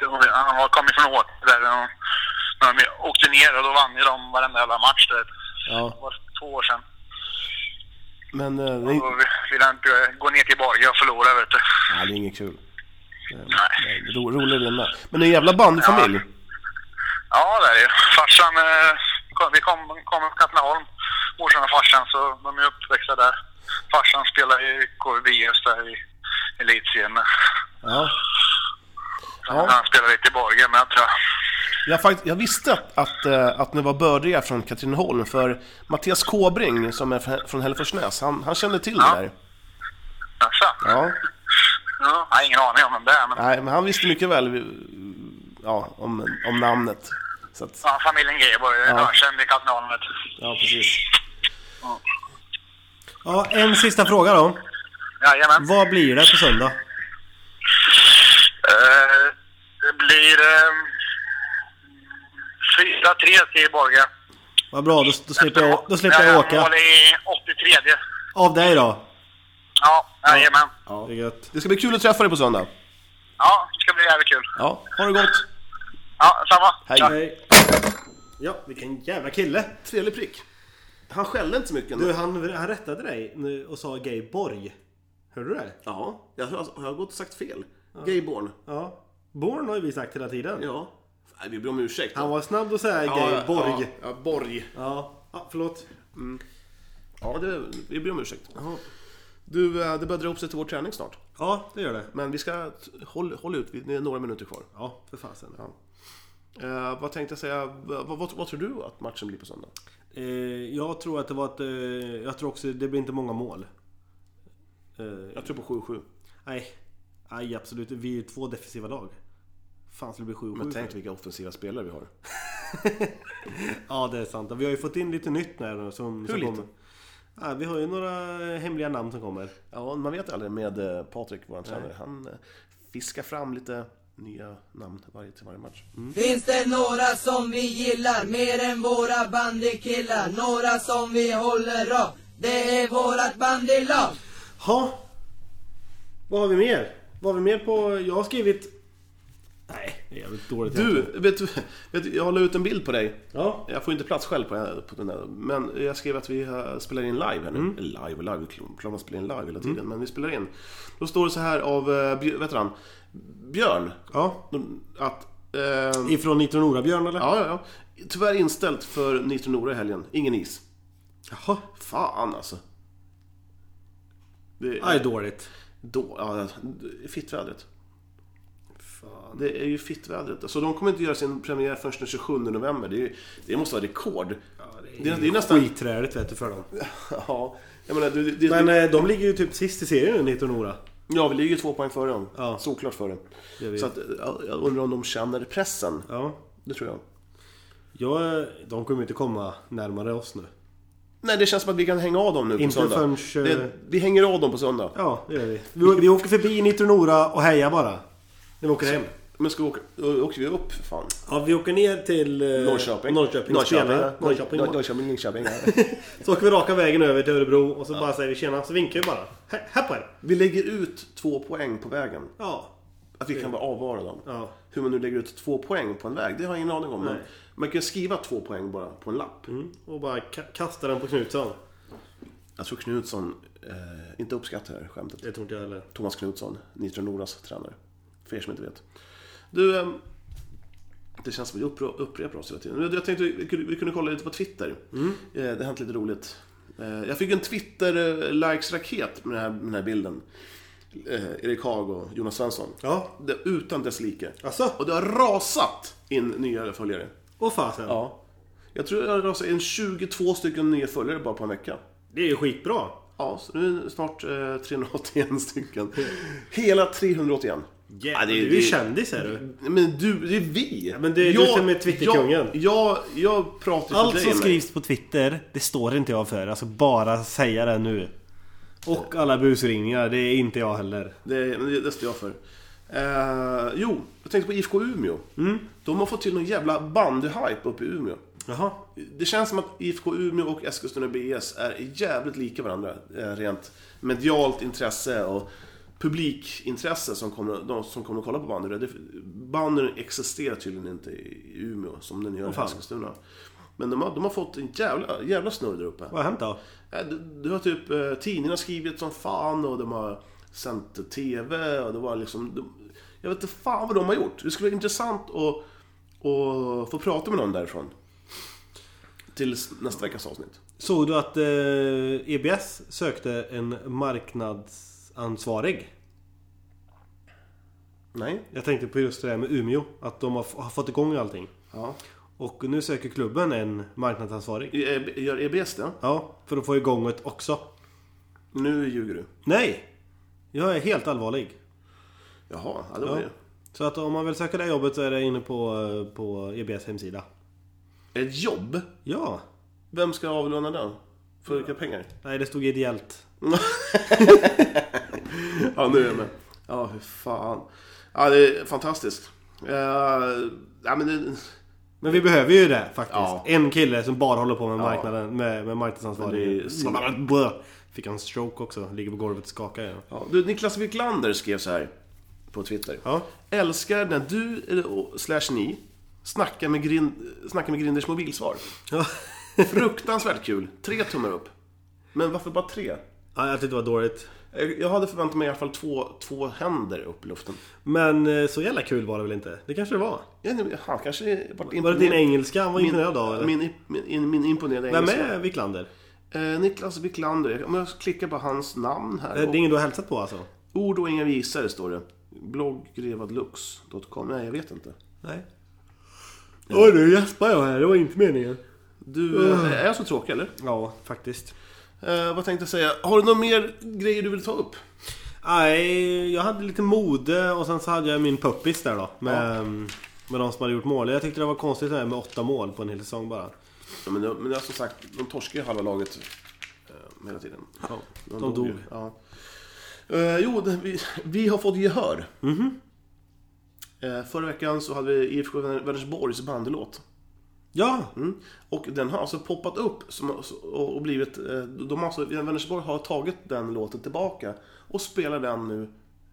då- Han har kommit från Åke där. och När de åkte ner och då vann ju de varenda jävla match. Där. Det
ja.
var två år sedan.
Men eh, det, är-
Då ville han inte gå ner till Borg och förlora vet du.
nej, det är inget kul.
Nej.
Nej, det är ro, rolig vinna. Men det är en jävla bandyfamilj.
Ja, det är det ju. Farsan, eh, kom- vi kom- kommer från Katrineholm, morsan och farsan, så de är uppväxta där. Farsan spelar i KVBS där i elitserien.
Ja.
Ja.
Ja,
Han spelar lite i Borgen med tror jag.
jag, fakt- jag visste att, att, eh, att ni var bördiga från Katrineholm för Mattias Kåbring som är fr- från Hälleforsnäs, han, han kände till det där.
Jaså?
Ja.
Ja, jag har ingen aning om vem det är, men
Nej, men han visste mycket väl eh, ja, om, om namnet. Så att,
ja, familjen Greiborg är ökänd i Katrineholm. vet du.
ja, precis.
Ja, en sista fråga då.
Jajamän.
Vad blir det på söndag?
Eh, det blir eh, 4-3 till Borgen.
Vad bra, då, då slipper jag, då slipper
Ja,
jag åka.
Mål i 83.
Av dig då?
Ja, jajamän.
Ja. Det är gött.
Det ska bli kul att träffa dig på söndag.
Ja, det ska bli jävligt kul.
Ja, ha det gott!
Ja, samma.
Hej.
Tja.
Hej. Ja, vilken jävla kille!
Trevlig prick. Han skällde inte så mycket.
Du, han, han rättade dig nu och sa Gay Borg. Hörde du det?
Ja. Jag har, har jag gått och sagt fel? Gayborn?
Ja. Born har ju vi sagt hela tiden.
Ja. Nej, vi ber om ursäkt.
Han var snabb att säga
Ja,
Gay Borg.
Ja, ja, Borg.
Ja. ja, förlåt.
Mm.
Ja, det, vi ber om ursäkt. Du, eh, det börjar dra ihop sig till vår träning snart.
Ja, det gör det.
Men vi ska... Håll, håll ut, vi- det är några minuter kvar.
Ja, för fasen.
Ja.
Eh, vad tänkte jag säga? Vad, vad, vad tror du att matchen blir på söndag?
Eh, jag tror att det var ett... Eh, jag tror också det blir inte många mål. Eh,
Jag tror på 7-7.
nej. Nej, absolut. Vi är ju två defensiva lag. Fan skulle det bli 7-7
Men
för?
tänk vilka offensiva spelare vi har.
Ja, det är sant. Vi har ju fått in lite nytt nu här som, som
lite?
kommer. Ja, vi har ju några hemliga namn som kommer.
Ja, man vet aldrig med eh, Patrik, vår tränare. Han eh, fiskar fram lite nya namn varje, till varje match.
Finns det några som vi gillar mer än våra bandykillar? Några som vi håller av? Det är vårat bandylag!
Ha. Vad har vi mer? Vad har vi mer på... Jag har skrivit... Nej, det är jävligt dåligt.
Du, vet du, vet du, jag la ut en bild på dig.
Ja.
Jag får inte plats själv på, på den där. Men jag skrev att vi eh, spelar in live här nu. Eller Live och live, vi kl- klarar av att spela in live hela tiden. Men vi spelar in. Då står det så här av, eh, Björ- vet du han? Björn.
Ja.
De- Att... Eh,
Ifrån Nitro Norabjörn eller?
ja, ja, ja. Tyvärr inställt för Nitro Nora i helgen. Ingen is.
Jaha.
Fan alltså. Det
Ja, det är dåligt.
Då, ja, fittvädret. Det är ju fittvädret. Så de kommer inte göra sin premiär förrän den 27 november. Det, är, ju- det måste vara rekord. det, är, det är nästan...
Skitträligt vet du för dem.
Ja, jag menar, det, det,
Men
det,
eh, de ligger ju typ sist i serien nu, Nitro Nora.
ja, vi ligger ju två poäng före dem.
Ja.
Såklart före.
Det vet.
Så att, ja, jag undrar om de känner pressen.
Ja.
Det tror jag.
Jag, eh, de kommer ju inte komma närmare oss nu.
Nej, det känns som att vi kan hänga av dem nu på
Inte
söndag.
förrän, eh,
det, vi hänger av dem på söndag.
Ja, det gör vi. Vi, vi åker förbi Nitro Nora och hejar bara. När vi åker hem.
Men ska vi åka, ö, åker vi upp för fan?
Ja, vi åker ner till eh,
Norrköping?
Norrköping, och
Norrköping,
spelar.
ja.
Norrköping.
Nor- Norrköping Linköping. ja.
Så åker vi raka vägen över till Örebro och så bara säger vi tjena, så vinkar vi bara. "Hä- Här på er!
Vi lägger ut två poäng på vägen.
Ja.
Att vi kan bara avvara dem.
Ja.
Hur man nu lägger ut två poäng på en väg, det har jag ingen aning om. Men
Nej.
man kan skriva två poäng bara på en lapp.
Mm. Och bara ka- kastar den på Knutsson.
Jag tror Knutsson eh, inte uppskattar det här skämtet.
Det tror inte jag heller.
Thomas Knutsson, Nitro Noras tränare. För er som inte vet. Du, ehm, det känns som att vi uppro- upprepar oss hela tiden. Men Jag tänkte vi kunde, vi kunde kolla lite på Twitter. Eh, Det har hänt lite roligt. Eh, Jag fick en Twitter-likes-raket med den här, med den här bilden. Eh, Erik Haag och Jonas Svensson.
Ja.
Det, utan dess like.
Asså?
Och det har rasat in nya följare.
Och fasen.
Ja. Jag tror det har rasat in 22 stycken nya följare bara på en vecka.
Det är ju skitbra.
Ja, så nu är det snart eh, 381 stycken. Hela 381.
Jävlar, du är ju kändis är du.
Men du, det är vi!
men det är du som är Twitterkungen.
Jag, jag, jag pratar för
Allt
dig,
som
men-
skrivs på Twitter, det står inte jag för. Alltså bara säga det nu. Och alla busringningar, det är inte jag heller.
Det, men det, det står jag för. Eh, jo, jag tänkte på IFK Umeå.
Mm.
De har fått till någon jävla bandyhype uppe i Umeå.
Jaha.
Det känns som att IFK Umeå och Eskilstuna BS är jävligt lika varandra. eh, Rent medialt intresse och publikintresse som kommer, de som kommer att kolla på bandy. Det- Bandyn existerar tydligen inte i Umeå som den gör i
fan.
Eskilstuna. Men de har, de har fått en jävla, jävla snurr där uppe.
Vad har hänt då?
Eh, Det, det har typ eh, tidningarna skrivit som fan och de har sänt TV och det var liksom... De, jag vet inte fan vad de har gjort. Det skulle vara intressant att, att få prata med någon därifrån. Till nästa veckas avsnitt.
Såg du att eh, EBS sökte en marknadsansvarig?
Nej?
Jag tänkte på just det där med Umeå. Att de har, f- har fått igång allting.
Ja.
Och nu söker klubben en marknadsansvarig.
I- eh, Gör EBS det?
Ja, för att få igång det också.
Nu ljuger du.
Nej! Jag är helt allvarlig.
Jaha, ja, det var
Ja.
det.
Så att om man vill söka det här jobbet så är det inne på, eh, på EBS hemsida.
Ett jobb?
Ja!
Vem ska avlöna den? För vilka pengar?
Nej, det stod ideellt.
Ja, nu är jag med. Ja, hur fan. Ja, det är fantastiskt. Uh, ja, men det,
Men vi behöver ju det faktiskt.
Ja.
En kille som bara håller på med marknaden, med, med marknadsansvarig. Mm.
Men det
Fick han stroke också. Ligger på golvet och skakar. Ja.
Ja, du, Niklas Wiklander skrev så här på Twitter.
Ja.
Älskar när du, eller och- slash ni, snackar med, grind, snackar med Grinders mobilsvar.
Ja.
Fruktansvärt kul. Tre tummar upp. Men varför bara tre?
ja, jag tyckte det var dåligt.
Jag- Jag hade förväntat mig i alla fall två, två händer upp i luften.
Men eh, så jävla kul var det väl inte? Det kanske det var?
Jag vet inte, Han kanske varit
Var det din engelska han var imponerad av? eller?
min, min, min, min imponerade
Vem
engelska.
är Wiklander?
Eh, Niklas Wiklander. Om jag klickar på hans namn här.
Det är ingen du har hälsat på alltså?
Ord och inga visor står det. Bloggrevadlux.com. Nej, jag vet inte.
Nej. Oj, nu gäspar jag här. Det var inte meningen.
Du, eh, är jag så tråkig eller?
Ja, faktiskt.
Eh, vad tänkte jag säga? Har du några mer grejer du vill ta upp?
Nej, jag hade lite mode och sen så hade jag min puppis där då. Med, med de som hade gjort mål. Jag tyckte det var konstigt det här med åtta mål på en hel säsong bara.
Ja, men, men det är som sagt, de torskar ju halva laget eh, hela tiden.
de
ju.
dog.
Ja. Eh, jo, det, vi, vi har fått gehör. Eh, förra veckan så hade vi IFK Väner- Vänersborgs bandylåt.
Ja!
Mm. Och den har alltså poppat upp som, och och blivit... eh, De har alltså, Vänersborg har tagit den låten tillbaka och spelar den nu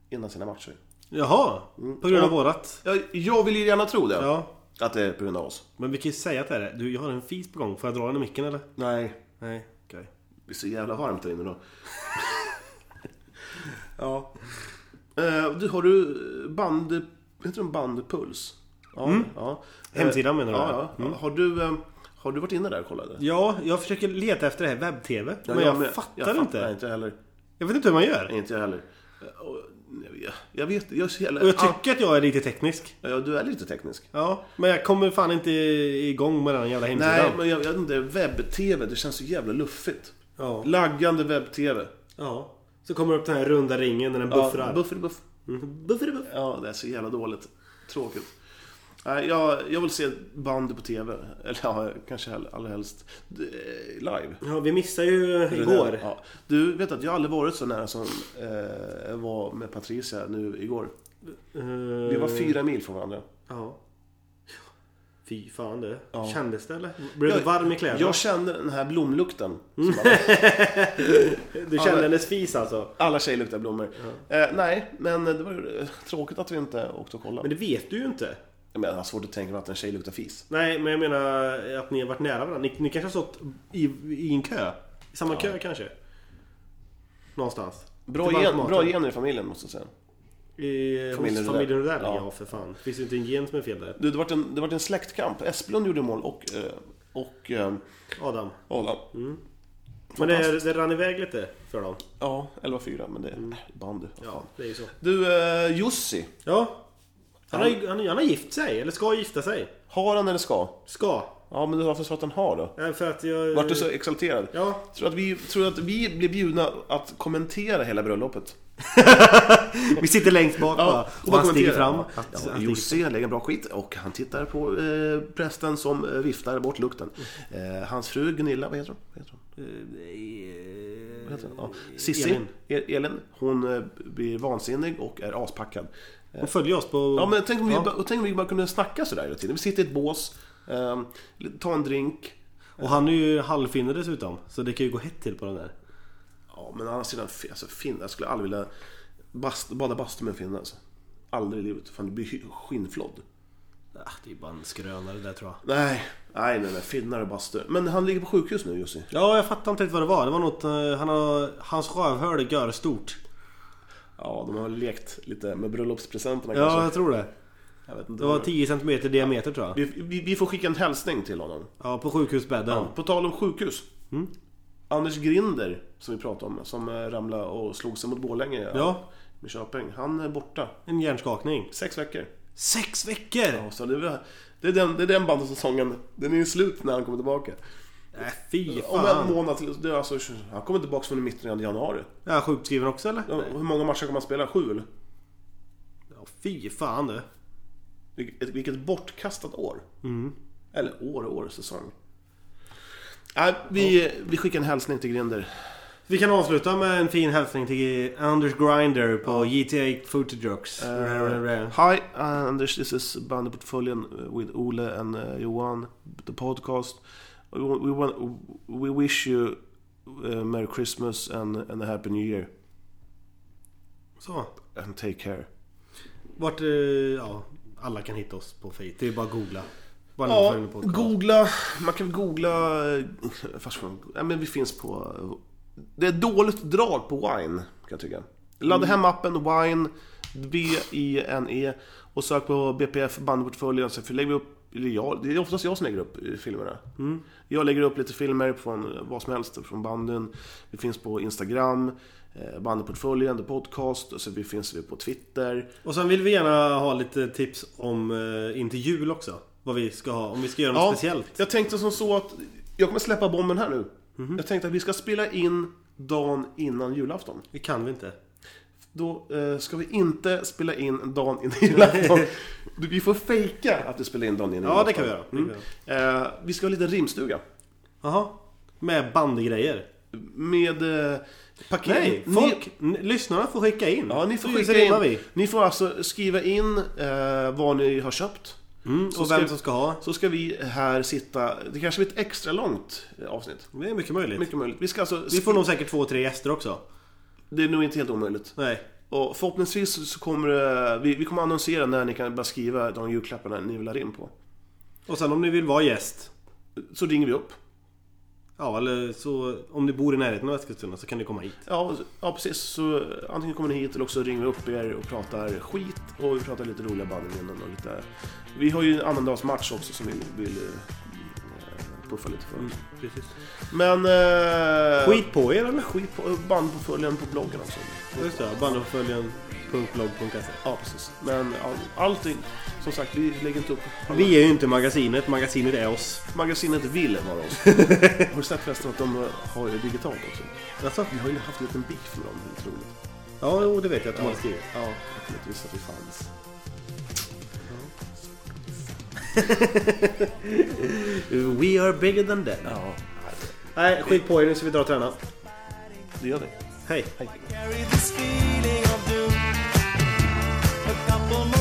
innan sina matcher.
Jaha! På grund av
Ja.
vårat.
Jag, jag vill ju gärna tro det.
Ja.
Att det är på grund av oss.
Men vi kan ju säga att det är det. Du, jag har en fis på gång. Får jag dra den i micken eller?
Nej.
Nej, okej.
Det är så jävla varmt där inne då.
Ja.
Eh, du, har du band... Heter den Bandpuls? Ja, ja. Eh,
Mm. Hemsidan menar du? Mm.
Ja, ja. Har, du, eh, har du varit inne där och kollat? eller?
Ja, jag försöker leta efter det här webb-tv. men jag, fattar inte.
Nej, inte jag heller.
Jag vet inte hur man gör.
Inte jag heller. Eh, och- Jag, jag vet, jag är så jävla... Ah,
Och jag tycker att jag är lite teknisk.
Ja, ja, du är lite teknisk.
Ja, men jag kommer fan inte igång med den jävla hemsidan.
Nej, men jag jag vet inte. Webb-TV, det känns så jävla luffigt.
Ja.
Laggande webb-TV.
ja. Så kommer upp den här runda ringen när den buffrar.
Buffrar, buff.
buffrar, buffrar.
Ja, det är så jävla dåligt. Tråkigt. Nej, jag, jag vill se band på TV. Eller ja, kanske hell- allra helst eh, live.
Ja, vi missade ju igår.
Ja. Du, vet att jag har aldrig varit så nära som eh, var med Patricia nu igår. Vi var fyra mil från varandra.
Eh, Ja. Fy fan du. Kändes det eller? Blev du varm i kläderna?
Jag kände den här blomlukten.
Du kände hennes fis alltså?
Alla tjejer luktar blommor. Eh, nej, men det var ju, eh, tråkigt att vi inte åkte och kollade.
Men det vet du ju inte.
Men jag har svårt att tänka mig att en tjej luktar fis.
Nej, men jag menar att ni har varit nära varandra. Ni, ni kanske har stått i, i en kö? I samma kö kanske? Någonstans?
Bra,
Till
gen,
bankomaten.
bra gener i familjen måste jag säga.
I
Familjen
familjen
Rydell.
familjen Rydell? Ja.
Ja,
för fan. Finns det inte en gen som är fel där?
Du, det vart en, det vart en släktkamp. Esplund gjorde mål och, eh, och eh,
Adam.
Adam.
Mm. Men det, det rann iväg lite för dem.
Ja, 11-4, men det är bandy.
Mm. Ja, det är ju så.
Du, eh, Jussi.
Ja. Han har, ju- han, han har gift sig, eller ska gifta sig.
Har han eller ska?
Ska.
Ja, men varför sa att han har då?
Nej, För att jag...
Vart du så exalterad?
Ja.
Tror att vi, tror att vi blir bjudna att kommentera hela bröllopet?
Vi sitter längst bak bara. Och han stiger fram.
Ja,
Att- att-
ja, Jussi lägger bra skit och han tittar på eh, prästen som eh, viftar bort lukten.
Mm.
Eh, hans fru Gunilla, vad heter hon? Vad heter hon? Vad heter hon? Ja. Sissi,
Elin.
Elin. Elin, hon eh, blir vansinnig och är aspackad. Eh,
Hon följer oss på...
Ja, men tänk om, vi, bara- tänk om vi bara kunde snacka sådär hela tiden. Vi sitter i ett bås, eh, ta en drink.
Och han är ju halvfinne dessutom. Så det kan ju gå hett till på den där.
Ja, men å andra sidan, fi- alltså, fin, jag skulle aldrig vilja bast, bada bastu med en finne. Alltså. Aldrig i livet. Fan, du blir hy- skinnflådd.
Ah, det är bara en skrönare där tror jag.
Nej, nej, nej, nej. Finnar och bastu. Men han ligger på sjukhus nu, Jussi.
Ja, jag fattar inte riktigt vad det var. Det var något... eh, Han har, hans rövhål gör stort.
Ja, de har väl lekt lite med bröllopspresenterna
Ja, jag
kanske.
tror det.
Jag vet inte
Det var 10 cm i diameter tror jag.
vi, vi, vi får skicka en hälsning till honom.
Ja, Mm. på sjukhusbädden.
På tal om sjukhus. Anders Grinder, som vi pratade om, som eh, ramlade och slog sig mot Borlänge
Ja.
med Köping. Han är borta.
En hjärnskakning.
Sex veckor.
Sex veckor!
Ja, så det, är, väl- det, är den, det är den bandysäsongen. Den är ju slut när han kommer tillbaka.
Äh, fy
Om en
fan.
månad till. Det är alltså, han kommer tillbaka från i mitten av januari.
Är han sjukskriven också eller?
Ja, Hur många matcher kommer han spela? Sju? eller?
Ja, fy fan du.
Vilket, vilket bortkastat år.
Mm.
Eller år och år, säsong. Nej, vi, vi skickar en hälsning till Grinder.
Vi kan avsluta med en fin hälsning till Anders Grinder på GTA Footage
Eh.
uh,
Hi eh, Anders, this is Bandyportföljen uh, with Ole and uh, Johan, the podcast. We, wa- we, want, we wish you uh, Merry Christmas and, and a Happy New Year.
Så.
And take care.
Vart... eh, ja, alla kan hitta oss på Facebook. Det är bara att googla. Bara
Ja,
följer podcast.
googla. Man kan googla... eh, Fast, nej, men vi finns på... eh, Det är dåligt drag på Wine, kan jag tycka.
Mm.
Ladda hem appen Wine, B-I-N-E, E, och sök på BPF bandportföljen. Så lägger vi upp... eller Jag, det är oftast jag som lägger upp eh, filmerna.
Mm.
Jag lägger upp lite filmer från eh, vad som helst, från banden. Vi finns på Instagram, eh, bandportföljen, The Podcast, och så vi finns vi på Twitter.
Och sen vill vi gärna ha lite tips om eh, in till jul också. Vad Vad vi ska ha, om vi ska göra något
Ja,
speciellt. Mhm.
jag tänkte som så att... Jag kommer släppa bomben här nu. Jag tänkte att vi ska spela in dagen innan julafton.
Det kan vi inte.
Då eh, ska vi inte spela in dagen innan julafton. Du, Vi får fejka att vi spelar in dagen innan
Ja, det
julafton.
kan vi göra. Det kan vi
Mm. Eh, vi ska ha en liten rimstuga.
Jaha. Med bandgrejer.
Med eh, paket.
Nej,
ni-
folk, n- lyssnarna får skicka in.
Ja, ni får
Så
skicka
rimmar
in.
Vi.
Ni får alltså skriva in eh, vad ni har köpt.
Mm,
Så
och
ska-
vem som ska ha.
Så ska vi här sitta, det kanske blir ett extra långt eh, avsnitt.
Det är mycket möjligt.
Mycket möjligt. Vi ska alltså...
Vi får nog säkert två, tre gäster också.
Det är nog inte helt omöjligt.
Nej.
Och förhoppningsvis så kommer det, vi, vi kommer annonsera när ni kan börja skriva de julklapparna ni vill ha in på.
Och sen om ni vill vara gäst.
Så ringer vi upp.
Ja, eller så om ni bor i närheten av Eskilstuna så kan ni komma hit.
Ja, ja precis. Så eh, antingen kommer ni hit eller också ringer vi upp er och pratar skit och vi pratar lite roliga band innan och lite... Vi har ju en annandagsmatch också som vi vill eh, puffa lite för.
Precis.
Men... Eh,
Skit på er eller?
skit på band på följaren på bloggen också.
Just det, bandoföljen.blogg.se
Ja, precis. Men all, allting, som sagt, vi lägger inte upp...
Vi är ju inte magasinet, magasinet är oss.
Magasinet vill vara oss. har du sett förresten att de har ju digitalt också?
Jaså?
Vi har ju haft en liten beef med dem, det är otroligt.
Ja, jo, det vet jag att de har skrivit.
Ja, jag kunde inte visst att vi fanns.
We are bigger than that.
Ja,
Nej, skit på er. Nu ska vi dra och träna.
det gör vi.
Hej.
carry this feeling of doom. A couple more